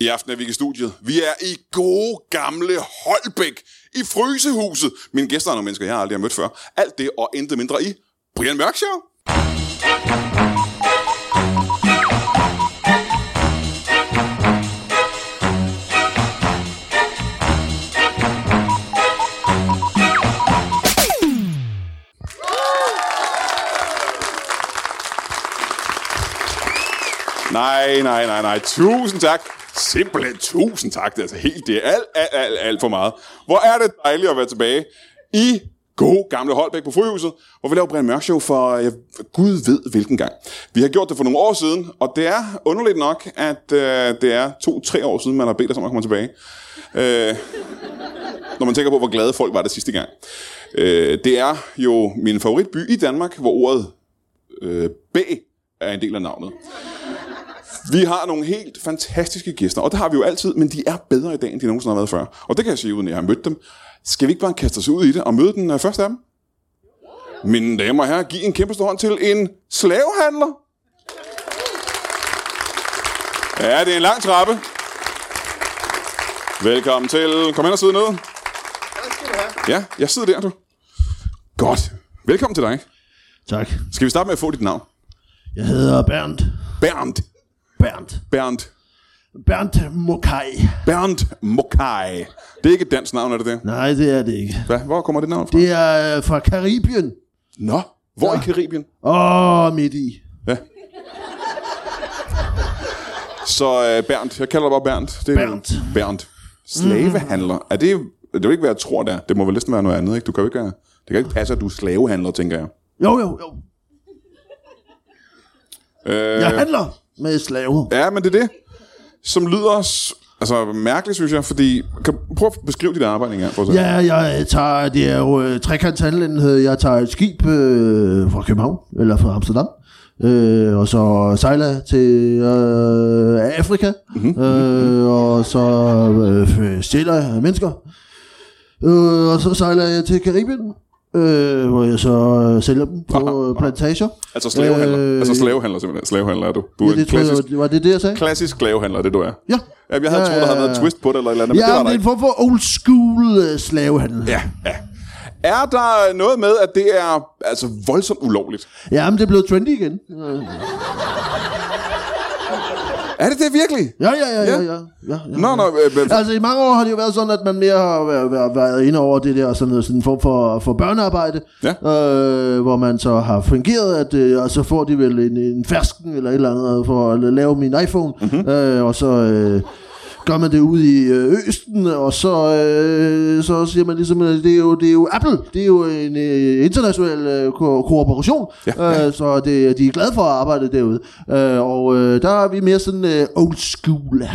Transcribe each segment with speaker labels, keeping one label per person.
Speaker 1: I aften er vi ikke i studiet. Vi er i gode gamle Holbæk i Frysehuset. Mine gæster er nogle mennesker, jeg aldrig har mødt før. Alt det og intet mindre i Brian Mørk Show. Nej, nej, nej, nej. Tusind tak. Simpelthen tusind tak. Det er altså helt det. er Alt, alt, alt, alt for meget. Hvor er det dejligt at være tilbage i god gamle Holbæk på Fryhuset, hvor vi laver Brian Mørk Show for ja, Gud ved hvilken gang. Vi har gjort det for nogle år siden, og det er underligt nok, at øh, det er to-tre år siden, man har bedt os om at komme tilbage. Øh, når man tænker på, hvor glade folk var det sidste gang. Øh, det er jo min favoritby i Danmark, hvor ordet øh, B er en del af navnet. Vi har nogle helt fantastiske gæster, og det har vi jo altid, men de er bedre i dag, end de nogensinde har været før. Og det kan jeg sige, uden at jeg har mødt dem. Skal vi ikke bare kaste os ud i det og møde den øh, første af dem? Mine damer og herrer, giv en kæmpe stor hånd til en slavehandler. Ja, det er en lang trappe. Velkommen til. Kom hen og sidde ned. Ja, jeg sidder der, du. Godt. Velkommen til dig.
Speaker 2: Tak.
Speaker 1: Skal vi starte med at få dit navn?
Speaker 2: Jeg hedder Bernd.
Speaker 1: Bernd.
Speaker 2: Bernd.
Speaker 1: Bernd.
Speaker 2: Bernd Mokai.
Speaker 1: Bernd Mokai. Det er ikke et dansk navn, er det det?
Speaker 2: Nej, det er det ikke.
Speaker 1: Hvad? Hvor kommer det navn fra?
Speaker 2: Det er øh, fra Karibien.
Speaker 1: Nå, hvor ja. i Karibien?
Speaker 2: Åh, midt i.
Speaker 1: Ja. Så øh, Bernd, jeg kalder dig bare Bernd. Det er
Speaker 2: Bernd.
Speaker 1: Bernd. Slavehandler. Er det, det vil ikke være, jeg tror, det er. Det må vel næsten være noget andet, ikke? Du kan jo ikke, øh, det kan ikke passe, at du er slavehandler, tænker jeg.
Speaker 2: Jo, jo, jo.
Speaker 1: Øh,
Speaker 2: Jeg handler med slaver.
Speaker 1: Ja, men det er det, som lyder s- altså, mærkeligt, synes jeg, fordi... Kan, prøv at beskrive dit arbejde engang, for at
Speaker 2: Ja, jeg øh, tager, det er jo øh, trekantshandlen, jeg tager et skib øh, fra København, eller fra Amsterdam, øh, og så sejler jeg til øh, Afrika,
Speaker 1: Mhm.
Speaker 2: mm-hmm. øh, og så øh, stjæler jeg mennesker, øh, og så sejler jeg til Karibien, øh, hvor jeg så øh, sælger dem på øh, plantager.
Speaker 1: Altså slavehandler.
Speaker 2: Øh,
Speaker 1: altså slavehandler simpelthen. Slavehandler er du. Du er
Speaker 2: Ja,
Speaker 1: en
Speaker 2: det tror
Speaker 1: klassisk,
Speaker 2: jeg, var- var det det, jeg sagde?
Speaker 1: klassisk slavehandler, er det du er.
Speaker 2: Ja.
Speaker 1: Jamen, jeg havde
Speaker 2: Ja,
Speaker 1: troet, der havde
Speaker 2: ja,
Speaker 1: været et
Speaker 2: ja.
Speaker 1: twist på det eller et eller andet, men det
Speaker 2: Ja,
Speaker 1: var
Speaker 2: men
Speaker 1: der
Speaker 2: det er en
Speaker 1: ikke.
Speaker 2: form for old school øh, slavehandel.
Speaker 1: Ja, ja. Er der noget med, at det er altså voldsomt ulovligt?
Speaker 2: ja, men det er blevet trendy igen. Øh,
Speaker 1: Er det det virkelig?
Speaker 2: Ja, ja, ja, ja,
Speaker 1: Ja.
Speaker 2: ja. ja, ja, ja.
Speaker 1: Nå, nå, øh, men-
Speaker 2: Altså i mange år har det jo været sådan, at man mere har været, været, været inde over det der sådan, noget, sådan en form for, for børnearbejde,
Speaker 1: Ja.
Speaker 2: øh, hvor man så har fungeret, at, øh, og så får de vel en, en fersken eller et eller andet for at lave min iPhone, mm-hmm. øh, og så... Øh, gør man det ude i øh, Østen, og så, øh, så siger man ligesom, at det er jo, det er jo Apple, det er jo en øh, international øh, ko- kooperation,
Speaker 1: Ja,
Speaker 2: ja,
Speaker 1: ja.
Speaker 2: ja. Øh, så det, de er glade for at arbejde derude. Øh, og øh, der er vi mere sådan øh, old school.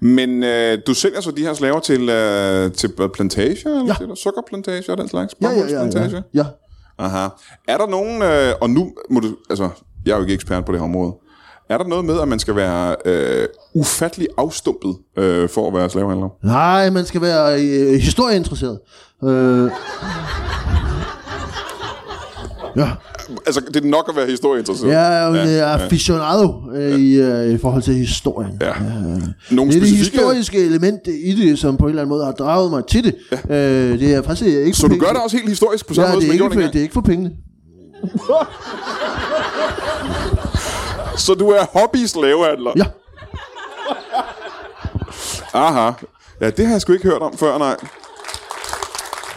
Speaker 1: Men øh, du sælger så de her slaver til, øh, til øh, plantager, eller
Speaker 2: Ja.
Speaker 1: til sukkerplantager og den slags?
Speaker 2: Ja, ja, ja. ja,
Speaker 1: Bambussplantager?
Speaker 2: ja. ja.
Speaker 1: Aha. Er der nogen, øh, og nu må du, altså, jeg er jo ikke ekspert på det her område. Er der noget med, at man skal være øh, ufattelig afstumpet øh, for at være slavehandler?
Speaker 2: Nej, man skal være øh, historieinteresseret. Øh. Ja,
Speaker 1: Altså, det er nok at være historieinteresseret.
Speaker 2: jeg er jo ja, ja. aficionado øh, i, øh, i forhold til historien.
Speaker 1: Ja.
Speaker 2: Det
Speaker 1: Nogle
Speaker 2: er det
Speaker 1: specifikke...
Speaker 2: historiske element i det, som på en eller anden måde har draget mig til det. Ja. Øh, det er faktisk ikke
Speaker 1: Så du gør det også helt historisk på samme
Speaker 2: Ja,
Speaker 1: måde,
Speaker 2: det
Speaker 1: som
Speaker 2: er,
Speaker 1: jeg
Speaker 2: ikke
Speaker 1: gjorde
Speaker 2: for,
Speaker 1: dengang?
Speaker 2: det er ikke for pengene.
Speaker 1: Så du er hobby-slavehandler?
Speaker 2: Ja.
Speaker 1: Aha. Ja, det har jeg sgu ikke hørt om før, nej.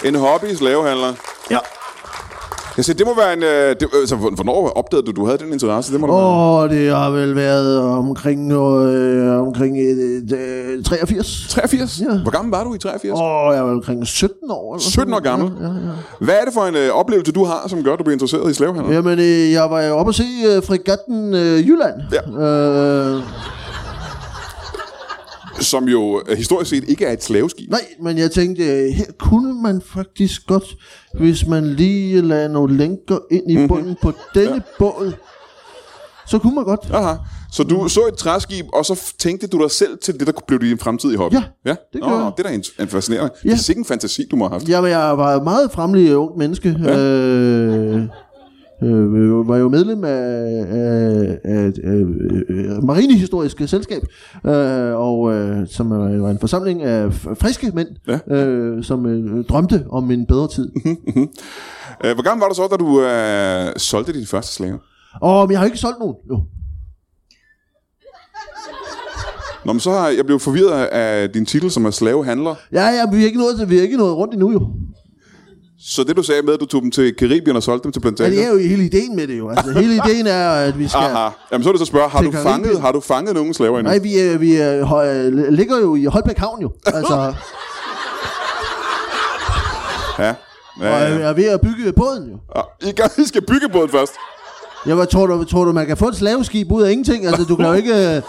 Speaker 1: En hobby-slavehandler.
Speaker 2: ja.
Speaker 1: Jeg siger, det må være en... Øh, det, altså, hvornår opdagede du, du havde den interesse? Det må du være.
Speaker 2: Og det har vel været omkring, øh, omkring øh, øh, 83.
Speaker 1: 83?
Speaker 2: Ja.
Speaker 1: Hvor gammel var du i 83?
Speaker 2: Og jeg var omkring 17 år. Eller
Speaker 1: 17 år
Speaker 2: sådan noget.
Speaker 1: gammel. Hvad er det for en øh, oplevelse, du har, som gør, at du bliver interesseret i slavehandler?
Speaker 2: Jamen, øh, jeg var Øh, jo oppe at se øh, frigatten øh, Jylland.
Speaker 1: Ja.
Speaker 2: Øh,
Speaker 1: som jo øh, historisk set ikke er et slaveskib.
Speaker 2: Nej, men jeg tænkte, øh, her kunne man faktisk godt, hvis man lige lader nogle lænker ind i bunden på denne båd, så kunne man godt.
Speaker 1: Aha. Så du så et træskib, og så f- tænkte du dig selv til det, der blev din fremtidige hobby?
Speaker 2: Ja,
Speaker 1: ja?
Speaker 2: det
Speaker 1: Nå,
Speaker 2: gjorde jeg.
Speaker 1: Det er da en- en fascinerende. Ja.
Speaker 2: Ja.
Speaker 1: Det er sikkert en fantasi, du må have haft.
Speaker 2: Ja, men jeg var et meget fremlig ung menneske. Ja. Øh, øh, var jo medlem af, af, af, af, af Marinehistoriske Selskab, øh, og øh, som var var en forsamling af f- friske mænd,
Speaker 1: Ja.
Speaker 2: øh, som øh, drømte om en bedre tid.
Speaker 1: Øh, Hvor gammel var du så, da du øh, solgte din første slave?
Speaker 2: og men jeg har ikke solgt nogen, jo.
Speaker 1: Nå, men så har jeg blevet forvirret af din titel, som er slavehandler.
Speaker 2: Ja, ja, men vi er ikke nået, vi er ikke nået rundt endnu, jo.
Speaker 1: Så det, du sagde med, at du tog dem til Karibien og solgte dem til
Speaker 2: Ja,
Speaker 1: plantager?
Speaker 2: det er jo hele ideen med det, jo. Altså, hele ideen er, at vi skal...
Speaker 1: Aha. Jamen, så er det så at spørge, har
Speaker 2: Til
Speaker 1: du,
Speaker 2: Caribien.
Speaker 1: fanget, har du fanget nogen slaver endnu?
Speaker 2: Nej, vi, øh, vi øh, hø- øh, ligger jo i Holbæk Havn, jo. Altså,
Speaker 1: Ja.
Speaker 2: og
Speaker 1: ja,
Speaker 2: øh,
Speaker 1: ja.
Speaker 2: er ved at bygge båden, jo.
Speaker 1: Ah, I gang- I skal bygge båden først.
Speaker 2: Jeg var, tror, du, tror du, man kan få et slaveskib ud af ingenting? Altså, du kan jo ikke...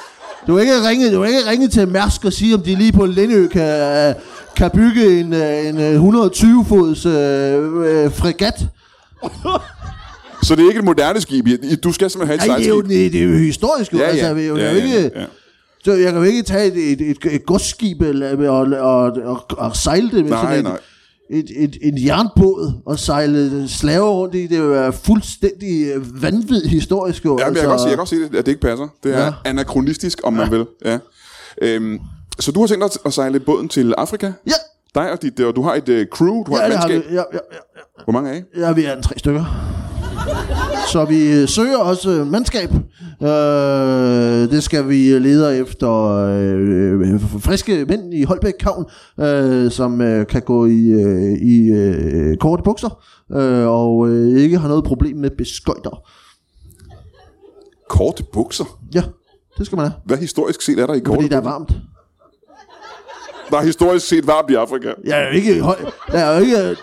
Speaker 2: Du kan ikke ringe, du kan ikke ringe til Mærsk og sige, om de lige på Lindø kan, kan bygge en, øh, en øh, 120-fods øh, øh, fregat.
Speaker 1: Så det er ikke et moderne skib. I- I- Du skal simpelthen have et
Speaker 2: Nej, det er jo,
Speaker 1: sejlskib.
Speaker 2: det, det er jo historisk, jo.
Speaker 1: Ja, ja.
Speaker 2: Altså, vi, jo,
Speaker 1: Ja,
Speaker 2: ja,
Speaker 1: ja,
Speaker 2: ikke,
Speaker 1: ja.
Speaker 2: Så jeg kan jo ikke tage et, et, et, et godsskib eller- og, og, og, og sejle det med
Speaker 1: Nej,
Speaker 2: sådan et,
Speaker 1: nej.
Speaker 2: Et, et, en jernbåd og sejle slaver rundt i. Det vil være fuldstændig øh, vanvittigt historisk. Jo. Altså,
Speaker 1: Ja, men jeg kan godt se, jeg kan godt se det, at det ikke passer. Det er
Speaker 2: Ja.
Speaker 1: anachronistisk, om man vil. Ja. Øhm, så du har tænkt dig at sejle båden til Afrika?
Speaker 2: Ja,
Speaker 1: Dig og dit, og du har et øh, crew, du har
Speaker 2: ja,
Speaker 1: et
Speaker 2: det har vi.
Speaker 1: mandskab.
Speaker 2: Ja, ja, ja.
Speaker 1: Hvor mange af? I?
Speaker 2: Ja, vi er en tre stykker. Så vi øh, søger også øh, mandskab. Øh, det skal vi lede efter øh, øh, friske mænd i Holbæk Havn, øh, som øh, kan gå i, øh, i øh, korte bukser øh, og øh, ikke har noget problem med beskøjter.
Speaker 1: Korte bukser.
Speaker 2: Ja, det skal man have,
Speaker 1: Hvad historisk set er der i korte
Speaker 2: fordi der er varmt.
Speaker 1: Der er historisk set varmt i Afrika.
Speaker 2: Jeg er jo ikke, i Hol- der er jo ikke, der,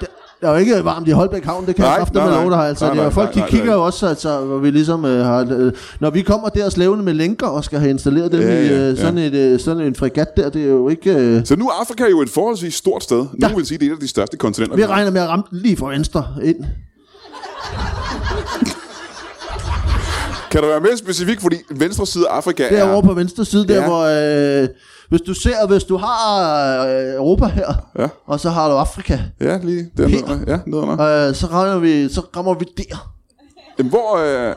Speaker 2: der er jo ikke varmt i Holbæk Havn, det kan
Speaker 1: Nej,
Speaker 2: jeg ofte
Speaker 1: nej,
Speaker 2: med lov
Speaker 1: nej.
Speaker 2: dig. Altså,
Speaker 1: Nej,
Speaker 2: det er,
Speaker 1: nej,
Speaker 2: jo
Speaker 1: nej,
Speaker 2: folk,
Speaker 1: nej,
Speaker 2: de kigger
Speaker 1: nej.
Speaker 2: jo også, altså, hvor vi ligesom øh, har, øh, når vi kommer der og slævende med lænker og skal have installeret dem
Speaker 1: Ja,
Speaker 2: ja, i
Speaker 1: ja,
Speaker 2: øh, sådan, ja. et, øh, sådan en fregat der, det er jo ikke... Øh,
Speaker 1: Så nu er Afrika jo et forholdsvis stort sted. Nu
Speaker 2: Ja.
Speaker 1: vil sige, det er et af de største kontinenter.
Speaker 2: vi
Speaker 1: har.
Speaker 2: regner med at ramme den lige fra venstre ind.
Speaker 1: Kan du være mere specifik, fordi venstre side af Afrika
Speaker 2: Det er
Speaker 1: er...
Speaker 2: over på venstre side, der
Speaker 1: Ja.
Speaker 2: ja. hvor... Øh, hvis du ser, hvis du har øh, Europa her,
Speaker 1: Ja.
Speaker 2: og så har du Afrika,
Speaker 1: Ja, lige der
Speaker 2: Her.
Speaker 1: nede. Ja, nede under.
Speaker 2: øh, så, rammer vi, så rammer vi der.
Speaker 1: Jamen, hvor... Øh,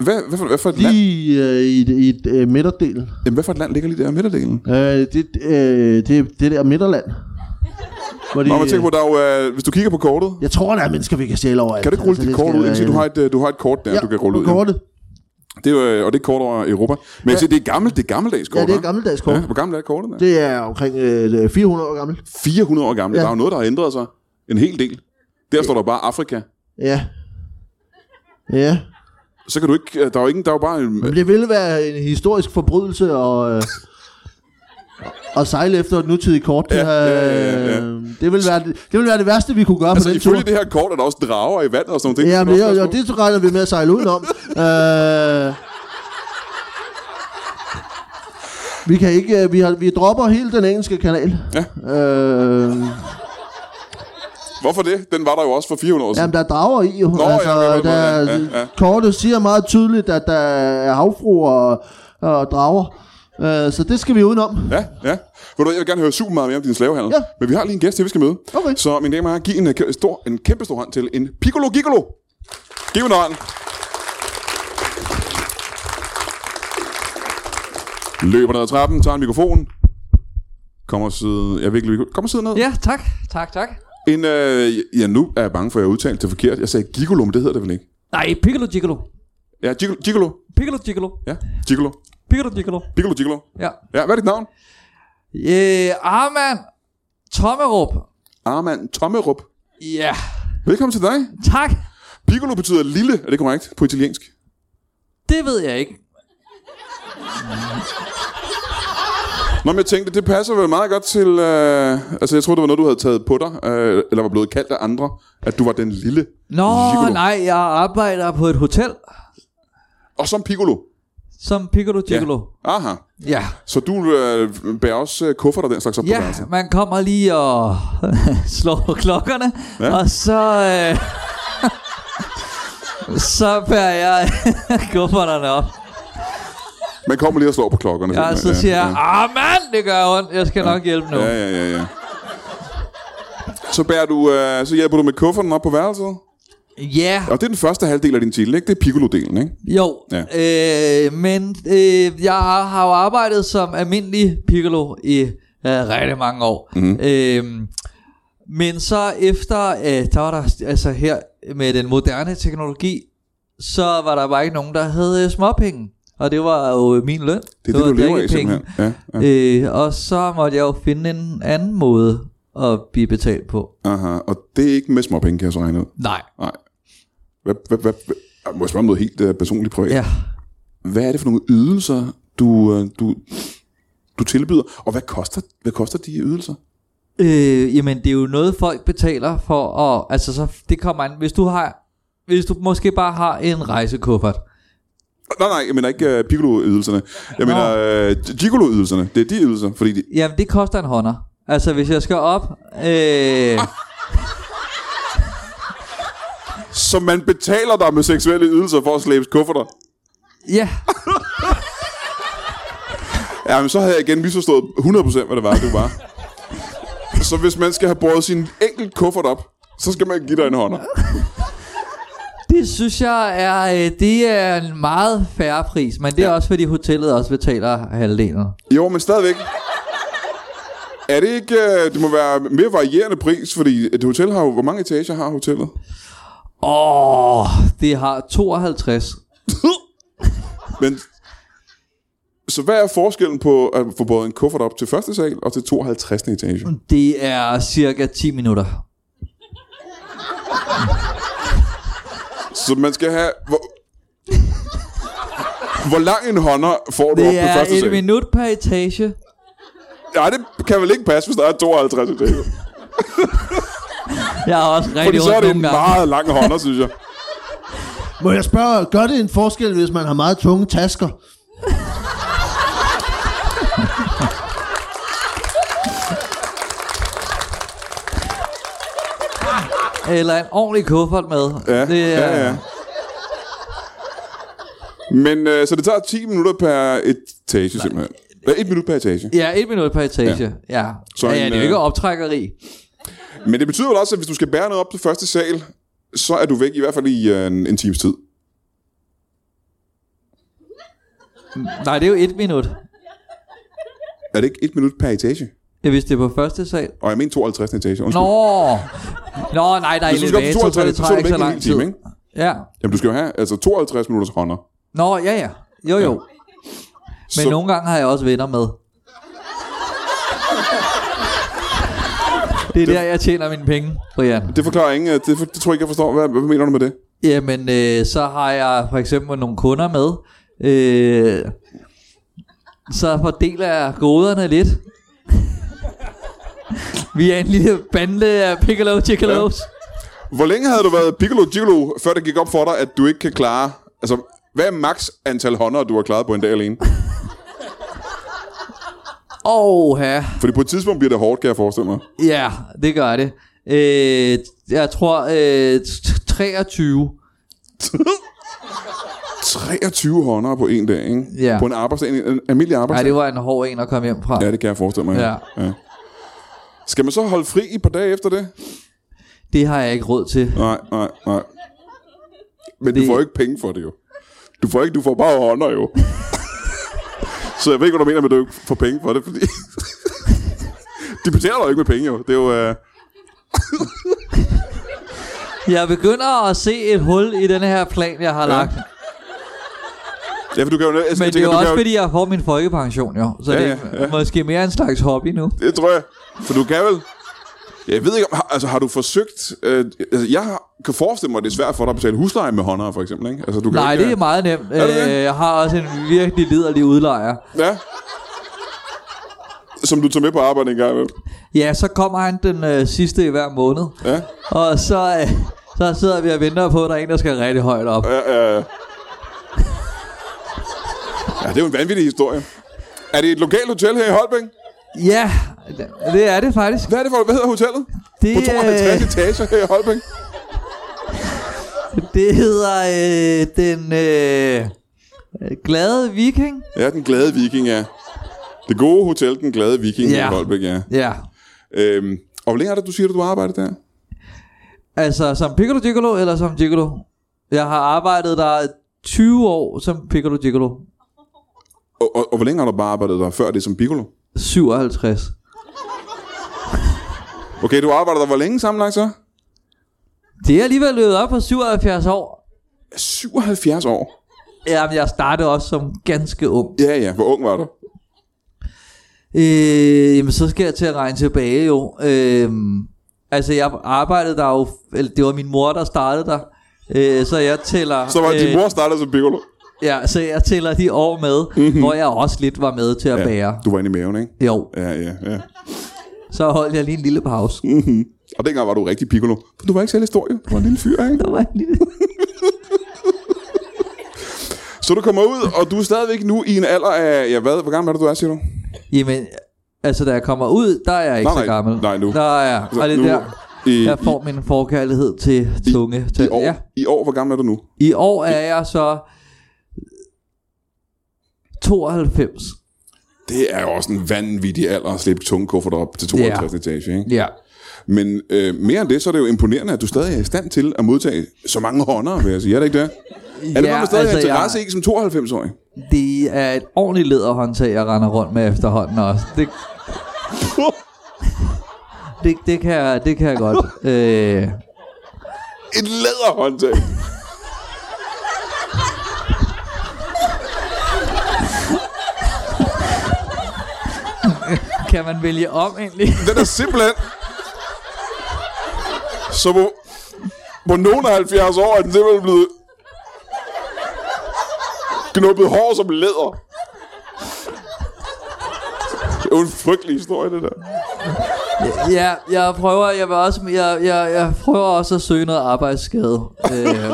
Speaker 1: hvad, hvad, for, hvad, for et land,
Speaker 2: Lige øh, i, i, i øh, midterdelen.
Speaker 1: jamen, hvad for et land ligger lige der i midterdelen?
Speaker 2: Øh, det, øh, det, det der midterland. Hvor de,
Speaker 1: Nå, man tænker på, der er jo, øh, hvis du kigger på kortet...
Speaker 2: jeg tror, der er mennesker, vi kan stjæle over. Altså,
Speaker 1: Kan du ikke rulle dit kort ud, indtil du har et, øh, du har et kort der,
Speaker 2: ja,
Speaker 1: du kan rulle ud? ja.
Speaker 2: Kortet.
Speaker 1: Det er, jo, øh, og det er kort over Europa. Men ja. se, det er gammelt, det er gammeldags kort.
Speaker 2: Ja, det er et
Speaker 1: hva'?
Speaker 2: gammeldags kort.
Speaker 1: Ja, hvor gammelt er kortet? Der? Det...
Speaker 2: Det er omkring øh, 400 år gammelt.
Speaker 1: 400 år gammelt. Ja.
Speaker 2: Ja.
Speaker 1: Der er jo noget, der har ændret sig. En hel del. Der står der bare Afrika.
Speaker 2: Ja. Ja.
Speaker 1: Så kan du ikke... øh, Der er jo, ingen, der er jo bare en,
Speaker 2: Men det ville være en historisk forbrydelse og... Øh, at sejle efter et nutidigt kort. Det,
Speaker 1: Ja,
Speaker 2: har,
Speaker 1: ja, ja, ja.
Speaker 2: øh, det, ville være, det, det ville være det værste, vi kunne gøre
Speaker 1: Altså,
Speaker 2: på den tur.
Speaker 1: ifølge det her kort er der også drager i vandet og sådan noget.
Speaker 2: Ja, men jo, jo, det regner vi med at sejle udenom. øh, vi kan ikke, øh, vi, har, vi dropper hele den engelske kanal.
Speaker 1: Ja.
Speaker 2: Øh,
Speaker 1: Hvorfor det? Den var der jo også for 400 år siden.
Speaker 2: jamen, der er drager i jo.
Speaker 1: Nå,
Speaker 2: Altså,
Speaker 1: ja, ja, ja, ja,
Speaker 2: der,
Speaker 1: ja, ja.
Speaker 2: Kortet siger meget tydeligt, at der er havfruer og, og drager. Øh, så det skal vi udenom.
Speaker 1: Ja, ja. Ved du, jeg vil gerne høre super meget mere om din slavehandel.
Speaker 2: Ja.
Speaker 1: Men vi har lige en gæst, til vi skal møde.
Speaker 2: Okay.
Speaker 1: Så mine damer og herrer, giv en, øh, kæ- stor, en kæmpe stor hånd til en Piccolo Gigolo. Giv en hånd. Løber ned ad trappen, tager en mikrofon. Kommer sidde, jeg virkelig, kommer sidde ned.
Speaker 3: Ja, tak. Tak, tak.
Speaker 1: En, øh, ja, nu er jeg bange for, at jeg udtalte det forkert. Jeg sagde gigolo, men det hedder det vel ikke?
Speaker 3: Nej, Piccolo Gigolo.
Speaker 1: Ja, gigolo. gigolo.
Speaker 3: Piccolo Gigolo.
Speaker 1: Ja, gigolo.
Speaker 3: Piccolo Gigolo.
Speaker 1: Piccolo gigolo.
Speaker 3: Ja.
Speaker 1: Ja, hvad er dit navn?
Speaker 3: Øh, Arman Tommerup.
Speaker 1: Armand Tommerup.
Speaker 3: Ja.
Speaker 1: Velkommen til dig.
Speaker 3: Tak.
Speaker 1: Piccolo betyder lille, er det korrekt, på italiensk?
Speaker 3: Det ved jeg ikke.
Speaker 1: Nå, men jeg tænkte, det passer vel meget godt til... Øh, altså, jeg tror, det var noget, du havde taget på dig, øh, eller var blevet kaldt af andre, at du var den lille.
Speaker 3: Nå,
Speaker 1: Gigolo.
Speaker 3: nej, jeg arbejder på et hotel
Speaker 1: Og som Piccolo.
Speaker 3: som Piccolo Piccolo.
Speaker 1: Aha.
Speaker 3: Ja.
Speaker 1: Så du øh, bærer også øh, kufferter og den slags op på
Speaker 3: Ja,
Speaker 1: værelset?
Speaker 3: man kommer lige og slår på klokkerne,
Speaker 1: Ja.
Speaker 3: ja. og så... Øh, så bærer jeg kufferterne op.
Speaker 1: Man kommer lige og slår på klokkerne.
Speaker 3: Ja,
Speaker 1: simpelthen.
Speaker 3: så siger jeg, ah mand, det gør ondt, jeg skal nok hjælpe nu.
Speaker 1: Ja, ja, ja, ja. Så, bærer du, øh, så hjælper du med kufferten op på værelset.
Speaker 3: Ja,
Speaker 1: Og det er den første halvdel af din titel, ikke? Det er piccolo-delen, ikke?
Speaker 3: jo.
Speaker 1: Ja.
Speaker 3: Øh, men øh, jeg har jo arbejdet som almindelig piccolo i øh, rigtig mange år.
Speaker 1: Mhm.
Speaker 3: Mm. Øh, men så efter, øh, der var der, altså her med den moderne teknologi, så var der bare ikke nogen, der havde øh, småpenge. Og det var jo øh, min løn.
Speaker 1: Det er det, det du
Speaker 3: var
Speaker 1: lever af,
Speaker 3: drikkepenge.
Speaker 1: simpelthen. Ja, ja.
Speaker 3: Øh, og så måtte jeg jo finde en anden måde at blive betalt på.
Speaker 1: Aha. Og det er ikke med småpenge, kan jeg så regne ud.
Speaker 3: Nej.
Speaker 1: Nej. Hvad, hvad, hvad, hvad, jeg må jeg spørge om noget helt uh, personligt privat?
Speaker 3: Ja.
Speaker 1: Hvad er det for nogle ydelser, du, øh, du, du tilbyder? Og hvad koster, hvad koster de ydelser?
Speaker 3: Øh, jamen det er jo noget folk betaler for at, altså så det kommer an, hvis du har, hvis du måske bare har en rejsekuffert.
Speaker 1: Nej, nej, jeg mener ikke uh, piccolo-ydelserne. Jeg mener uh, gigolo-ydelserne. Det er de ydelser, fordi de...
Speaker 3: Jamen det koster en hånder. Altså hvis jeg skal op, øh,
Speaker 1: Så man betaler dig med seksuelle ydelser for at slæbe kufferter.
Speaker 3: ja,
Speaker 1: Ja, men så havde jeg igen misforstået 100% hvad det var, du var. så hvis man skal have båret sin enkelt kuffert op, så skal man give dig en hånd.
Speaker 3: det synes jeg er, øh, det er en meget færre pris, men det er
Speaker 1: Ja.
Speaker 3: ja. også fordi hotellet også betaler halvdelen.
Speaker 1: Jo, men stadigvæk. Er det ikke... øh, Det må være mere varierende pris, fordi et hotel har jo... Hvor mange etager har hotellet?
Speaker 3: Åh, oh, det har 52.
Speaker 1: Men... Så hvad er forskellen på at få båret en kuffert op til første sal og til 52. etage?
Speaker 3: Det er cirka 10 minutter.
Speaker 1: Så man skal have... Hvor, hvor lang en hånder får du op
Speaker 3: Det
Speaker 1: på
Speaker 3: er
Speaker 1: første
Speaker 3: et
Speaker 1: sal?
Speaker 3: minut per etage.
Speaker 1: Nej, det kan vel ikke passe, hvis der er 52 etager.
Speaker 3: Jeg har også
Speaker 1: Fordi
Speaker 3: rigtig
Speaker 1: så er
Speaker 3: ondt
Speaker 1: det en
Speaker 3: nogle gange.
Speaker 1: meget lang hånder, synes jeg.
Speaker 2: Må jeg spørge, gør det en forskel, hvis man har meget tunge tasker?
Speaker 3: Eller en ordentlig kuffert med.
Speaker 1: Ja,
Speaker 3: det er,
Speaker 1: ja, ja. Men øh, så det tager 10 minutter per etage, simpelthen. Nej. Et minut per etage.
Speaker 3: Ja, et minut per etage. Ja. ja.
Speaker 1: Så
Speaker 3: Så ja,
Speaker 1: en,
Speaker 3: ja, det er jo
Speaker 1: øh,
Speaker 3: ikke optrækkeri.
Speaker 1: Men det betyder vel også, at hvis du skal bære noget op til første sal, så er du væk i hvert fald i øh, en, en times tid.
Speaker 3: Nej, det er jo et minut.
Speaker 1: Er det ikke et minut per etage?
Speaker 3: Ja, hvis det er på første sal.
Speaker 1: Og jeg mener 52. etage, undskyld.
Speaker 3: Nå! Nå, nej, der er
Speaker 1: Hvis du skal op til 52,
Speaker 3: elevator, så det
Speaker 1: så er
Speaker 3: tager
Speaker 1: du væk
Speaker 3: ikke så
Speaker 1: i en
Speaker 3: lang
Speaker 1: hel
Speaker 3: tid.
Speaker 1: time, ikke?
Speaker 3: Ja.
Speaker 1: Jamen, du skal jo have altså 52 minutters hånder.
Speaker 3: Nå, ja, ja. Jo, jo. Men
Speaker 1: Så-
Speaker 3: så... nogle gange har jeg også venner med. Det er der, jeg tjener mine penge, Brian.
Speaker 1: Det forklarer ingen. øh, Det, for, det tror jeg ikke, jeg forstår. Hvad, hvad mener du med det?
Speaker 3: Jamen, øh, så har jeg for eksempel nogle kunder med. Øh, så fordeler jeg goderne lidt. Vi er en lille bande af piccolo chickalos.
Speaker 1: Hvor længe havde du været piccolo gigolo, før det gik op for dig, at du ikke kan klare... Altså, hvad er max antal hånder, du har klaret på en dag alene?
Speaker 3: Åh, ja.
Speaker 1: Fordi på et tidspunkt bliver det hårdt, kan jeg forestille mig.
Speaker 3: Ja, det gør det. Øh, jeg tror øh, t- 23.
Speaker 1: 23 hånder på en dag, ikke?
Speaker 3: Ja.
Speaker 1: På en arbejdsdag, en, en almindelig
Speaker 3: Nej,
Speaker 1: arbejdsdag.
Speaker 3: det var en hård en at komme hjem fra.
Speaker 1: Ja, det kan jeg forestille mig.
Speaker 3: Ja.
Speaker 1: ja. Skal man så holde fri et par dage efter det?
Speaker 3: Det har jeg ikke råd til.
Speaker 1: Nej, nej, nej. Men det... du
Speaker 3: Det-
Speaker 1: får ikke penge for det jo. Du får ikke, du får bare hånder jo. så jeg ved ikke, hvad du mener med, at du ikke får penge for det, fordi... De betaler dig jo ikke med penge jo. Det er jo... Øh...
Speaker 3: Jeg begynder at se et hul i den her plan, jeg har lagt.
Speaker 1: Ja, for du kan jo... altså, Jeg,
Speaker 3: Men
Speaker 1: jeg tænker,
Speaker 3: det er jo
Speaker 1: du kan
Speaker 3: også
Speaker 1: jo...
Speaker 3: fordi, jeg får min folkepension jo. Så
Speaker 1: Ja,
Speaker 3: ja, det
Speaker 1: ja,
Speaker 3: er ja. måske mere en slags hobby nu.
Speaker 1: Det tror jeg. For du kan vel... Jeg ved ikke, om, har- altså har du forsøgt... Øh, altså, jeg har, kan forestille mig, at det er svært for dig at betale husleje med håndere, for eksempel, ikke? Altså, du kan
Speaker 3: Nej,
Speaker 1: ikke,
Speaker 3: det er meget nemt.
Speaker 1: Er det det?
Speaker 3: Øh, jeg har også en virkelig liderlig udlejer.
Speaker 1: Ja. Som du tager med på arbejde en gang imellem.
Speaker 3: Ja, så kommer han den øh, sidste i hver måned.
Speaker 1: Ja.
Speaker 3: Og så, øh, så sidder vi og venter på, at der er en, der skal rigtig højt op.
Speaker 1: Ja, ja, ja. det er jo en vanvittig historie. Er det et lokalt hotel her i Holbæk?
Speaker 3: Ja, det er det faktisk.
Speaker 1: Hvad er det for, hvad hedder hotellet?
Speaker 3: Det,
Speaker 1: På 52
Speaker 3: øh,
Speaker 1: etager her i Holbæk?
Speaker 3: det hedder øh, den øh, glade viking.
Speaker 1: Ja, den glade viking, ja. Det gode hotel, den glade viking ja.
Speaker 3: Ja.
Speaker 1: i Holbæk, ja.
Speaker 3: Ja,
Speaker 1: Øhm, og hvor længe er det, du siger, at du arbejder der?
Speaker 3: altså som Piccolo Gigolo eller som Gigolo. Jeg har arbejdet der 20 år som Piccolo Gigolo.
Speaker 1: Og, og, og hvor længe har du bare arbejdet der før det som piccolo?
Speaker 3: 57.
Speaker 1: Okay, du arbejder der hvor længe sammenlagt så?
Speaker 3: Det er alligevel løbet op på 77 år.
Speaker 1: 77 år.
Speaker 3: Jamen, jeg startede også som ganske ung.
Speaker 1: Ja, ja. Hvor ung var du?
Speaker 3: Øh, jamen, så skal jeg til at regne tilbage jo. Øh, altså, jeg arbejdede der jo... Eller, det var min mor, der startede der. Øh, så jeg tæller...
Speaker 1: Så var øh, din mor startede som piccolo.
Speaker 3: Ja, så jeg tæller de år med,
Speaker 1: Mhm.
Speaker 3: mm-hmm. hvor jeg også lidt var med til at ja. bære.
Speaker 1: Du var inde i maven, ikke?
Speaker 3: Jo,
Speaker 1: Ja, ja, ja.
Speaker 3: så holdt jeg lige en lille pause.
Speaker 1: Mhm. Og dengang var du rigtig piccolo. For du var ikke særlig stor, jo. Du var en lille fyr, ikke?
Speaker 3: Der var en lille...
Speaker 1: Så du kommer ud, og du er stadigvæk nu i en alder af... Ja, hvad? Hvor gammel er det, du er, siger du?
Speaker 3: Jamen, altså, da jeg kommer ud, der er jeg ikke
Speaker 1: Nej,
Speaker 3: så
Speaker 1: nej.
Speaker 3: gammel.
Speaker 1: Nej, nu.
Speaker 3: Der er jeg. Og det er
Speaker 1: Altså, nu,
Speaker 3: der,
Speaker 1: i,
Speaker 3: jeg får min forkærlighed til tunge.
Speaker 1: i, i,
Speaker 3: Til,
Speaker 1: år,
Speaker 3: ja.
Speaker 1: I år, hvor gammel er du nu?
Speaker 3: I år er jeg så 92.
Speaker 1: Det er jo også en vanvittig alder at slippe tunge kufferter op til 52 ja. etage, ikke?
Speaker 3: Ja.
Speaker 1: Men øh, mere end det, så er det jo imponerende, at du stadig er i stand til at modtage så mange hånder, vil jeg sige. Er det ikke det? Er det ja, noget, du stadig altså, har interesse
Speaker 3: jeg,
Speaker 1: i som 92-årig?
Speaker 3: Det er et ordentligt læderhåndtag, jeg render rundt med efterhånden også. Det, det, det, kan, jeg, det kan jeg godt. Øh,
Speaker 1: Et læderhåndtag.
Speaker 3: kan man vælge om egentlig?
Speaker 1: Den er simpelthen... Så på, på nogen af 70 år er den simpelthen blevet... Knuppet hår som læder. Det er jo en frygtelig historie, det der.
Speaker 3: ja, jeg prøver, jeg, vil også, jeg, jeg, jeg prøver også at søge noget arbejdsskade. Øh,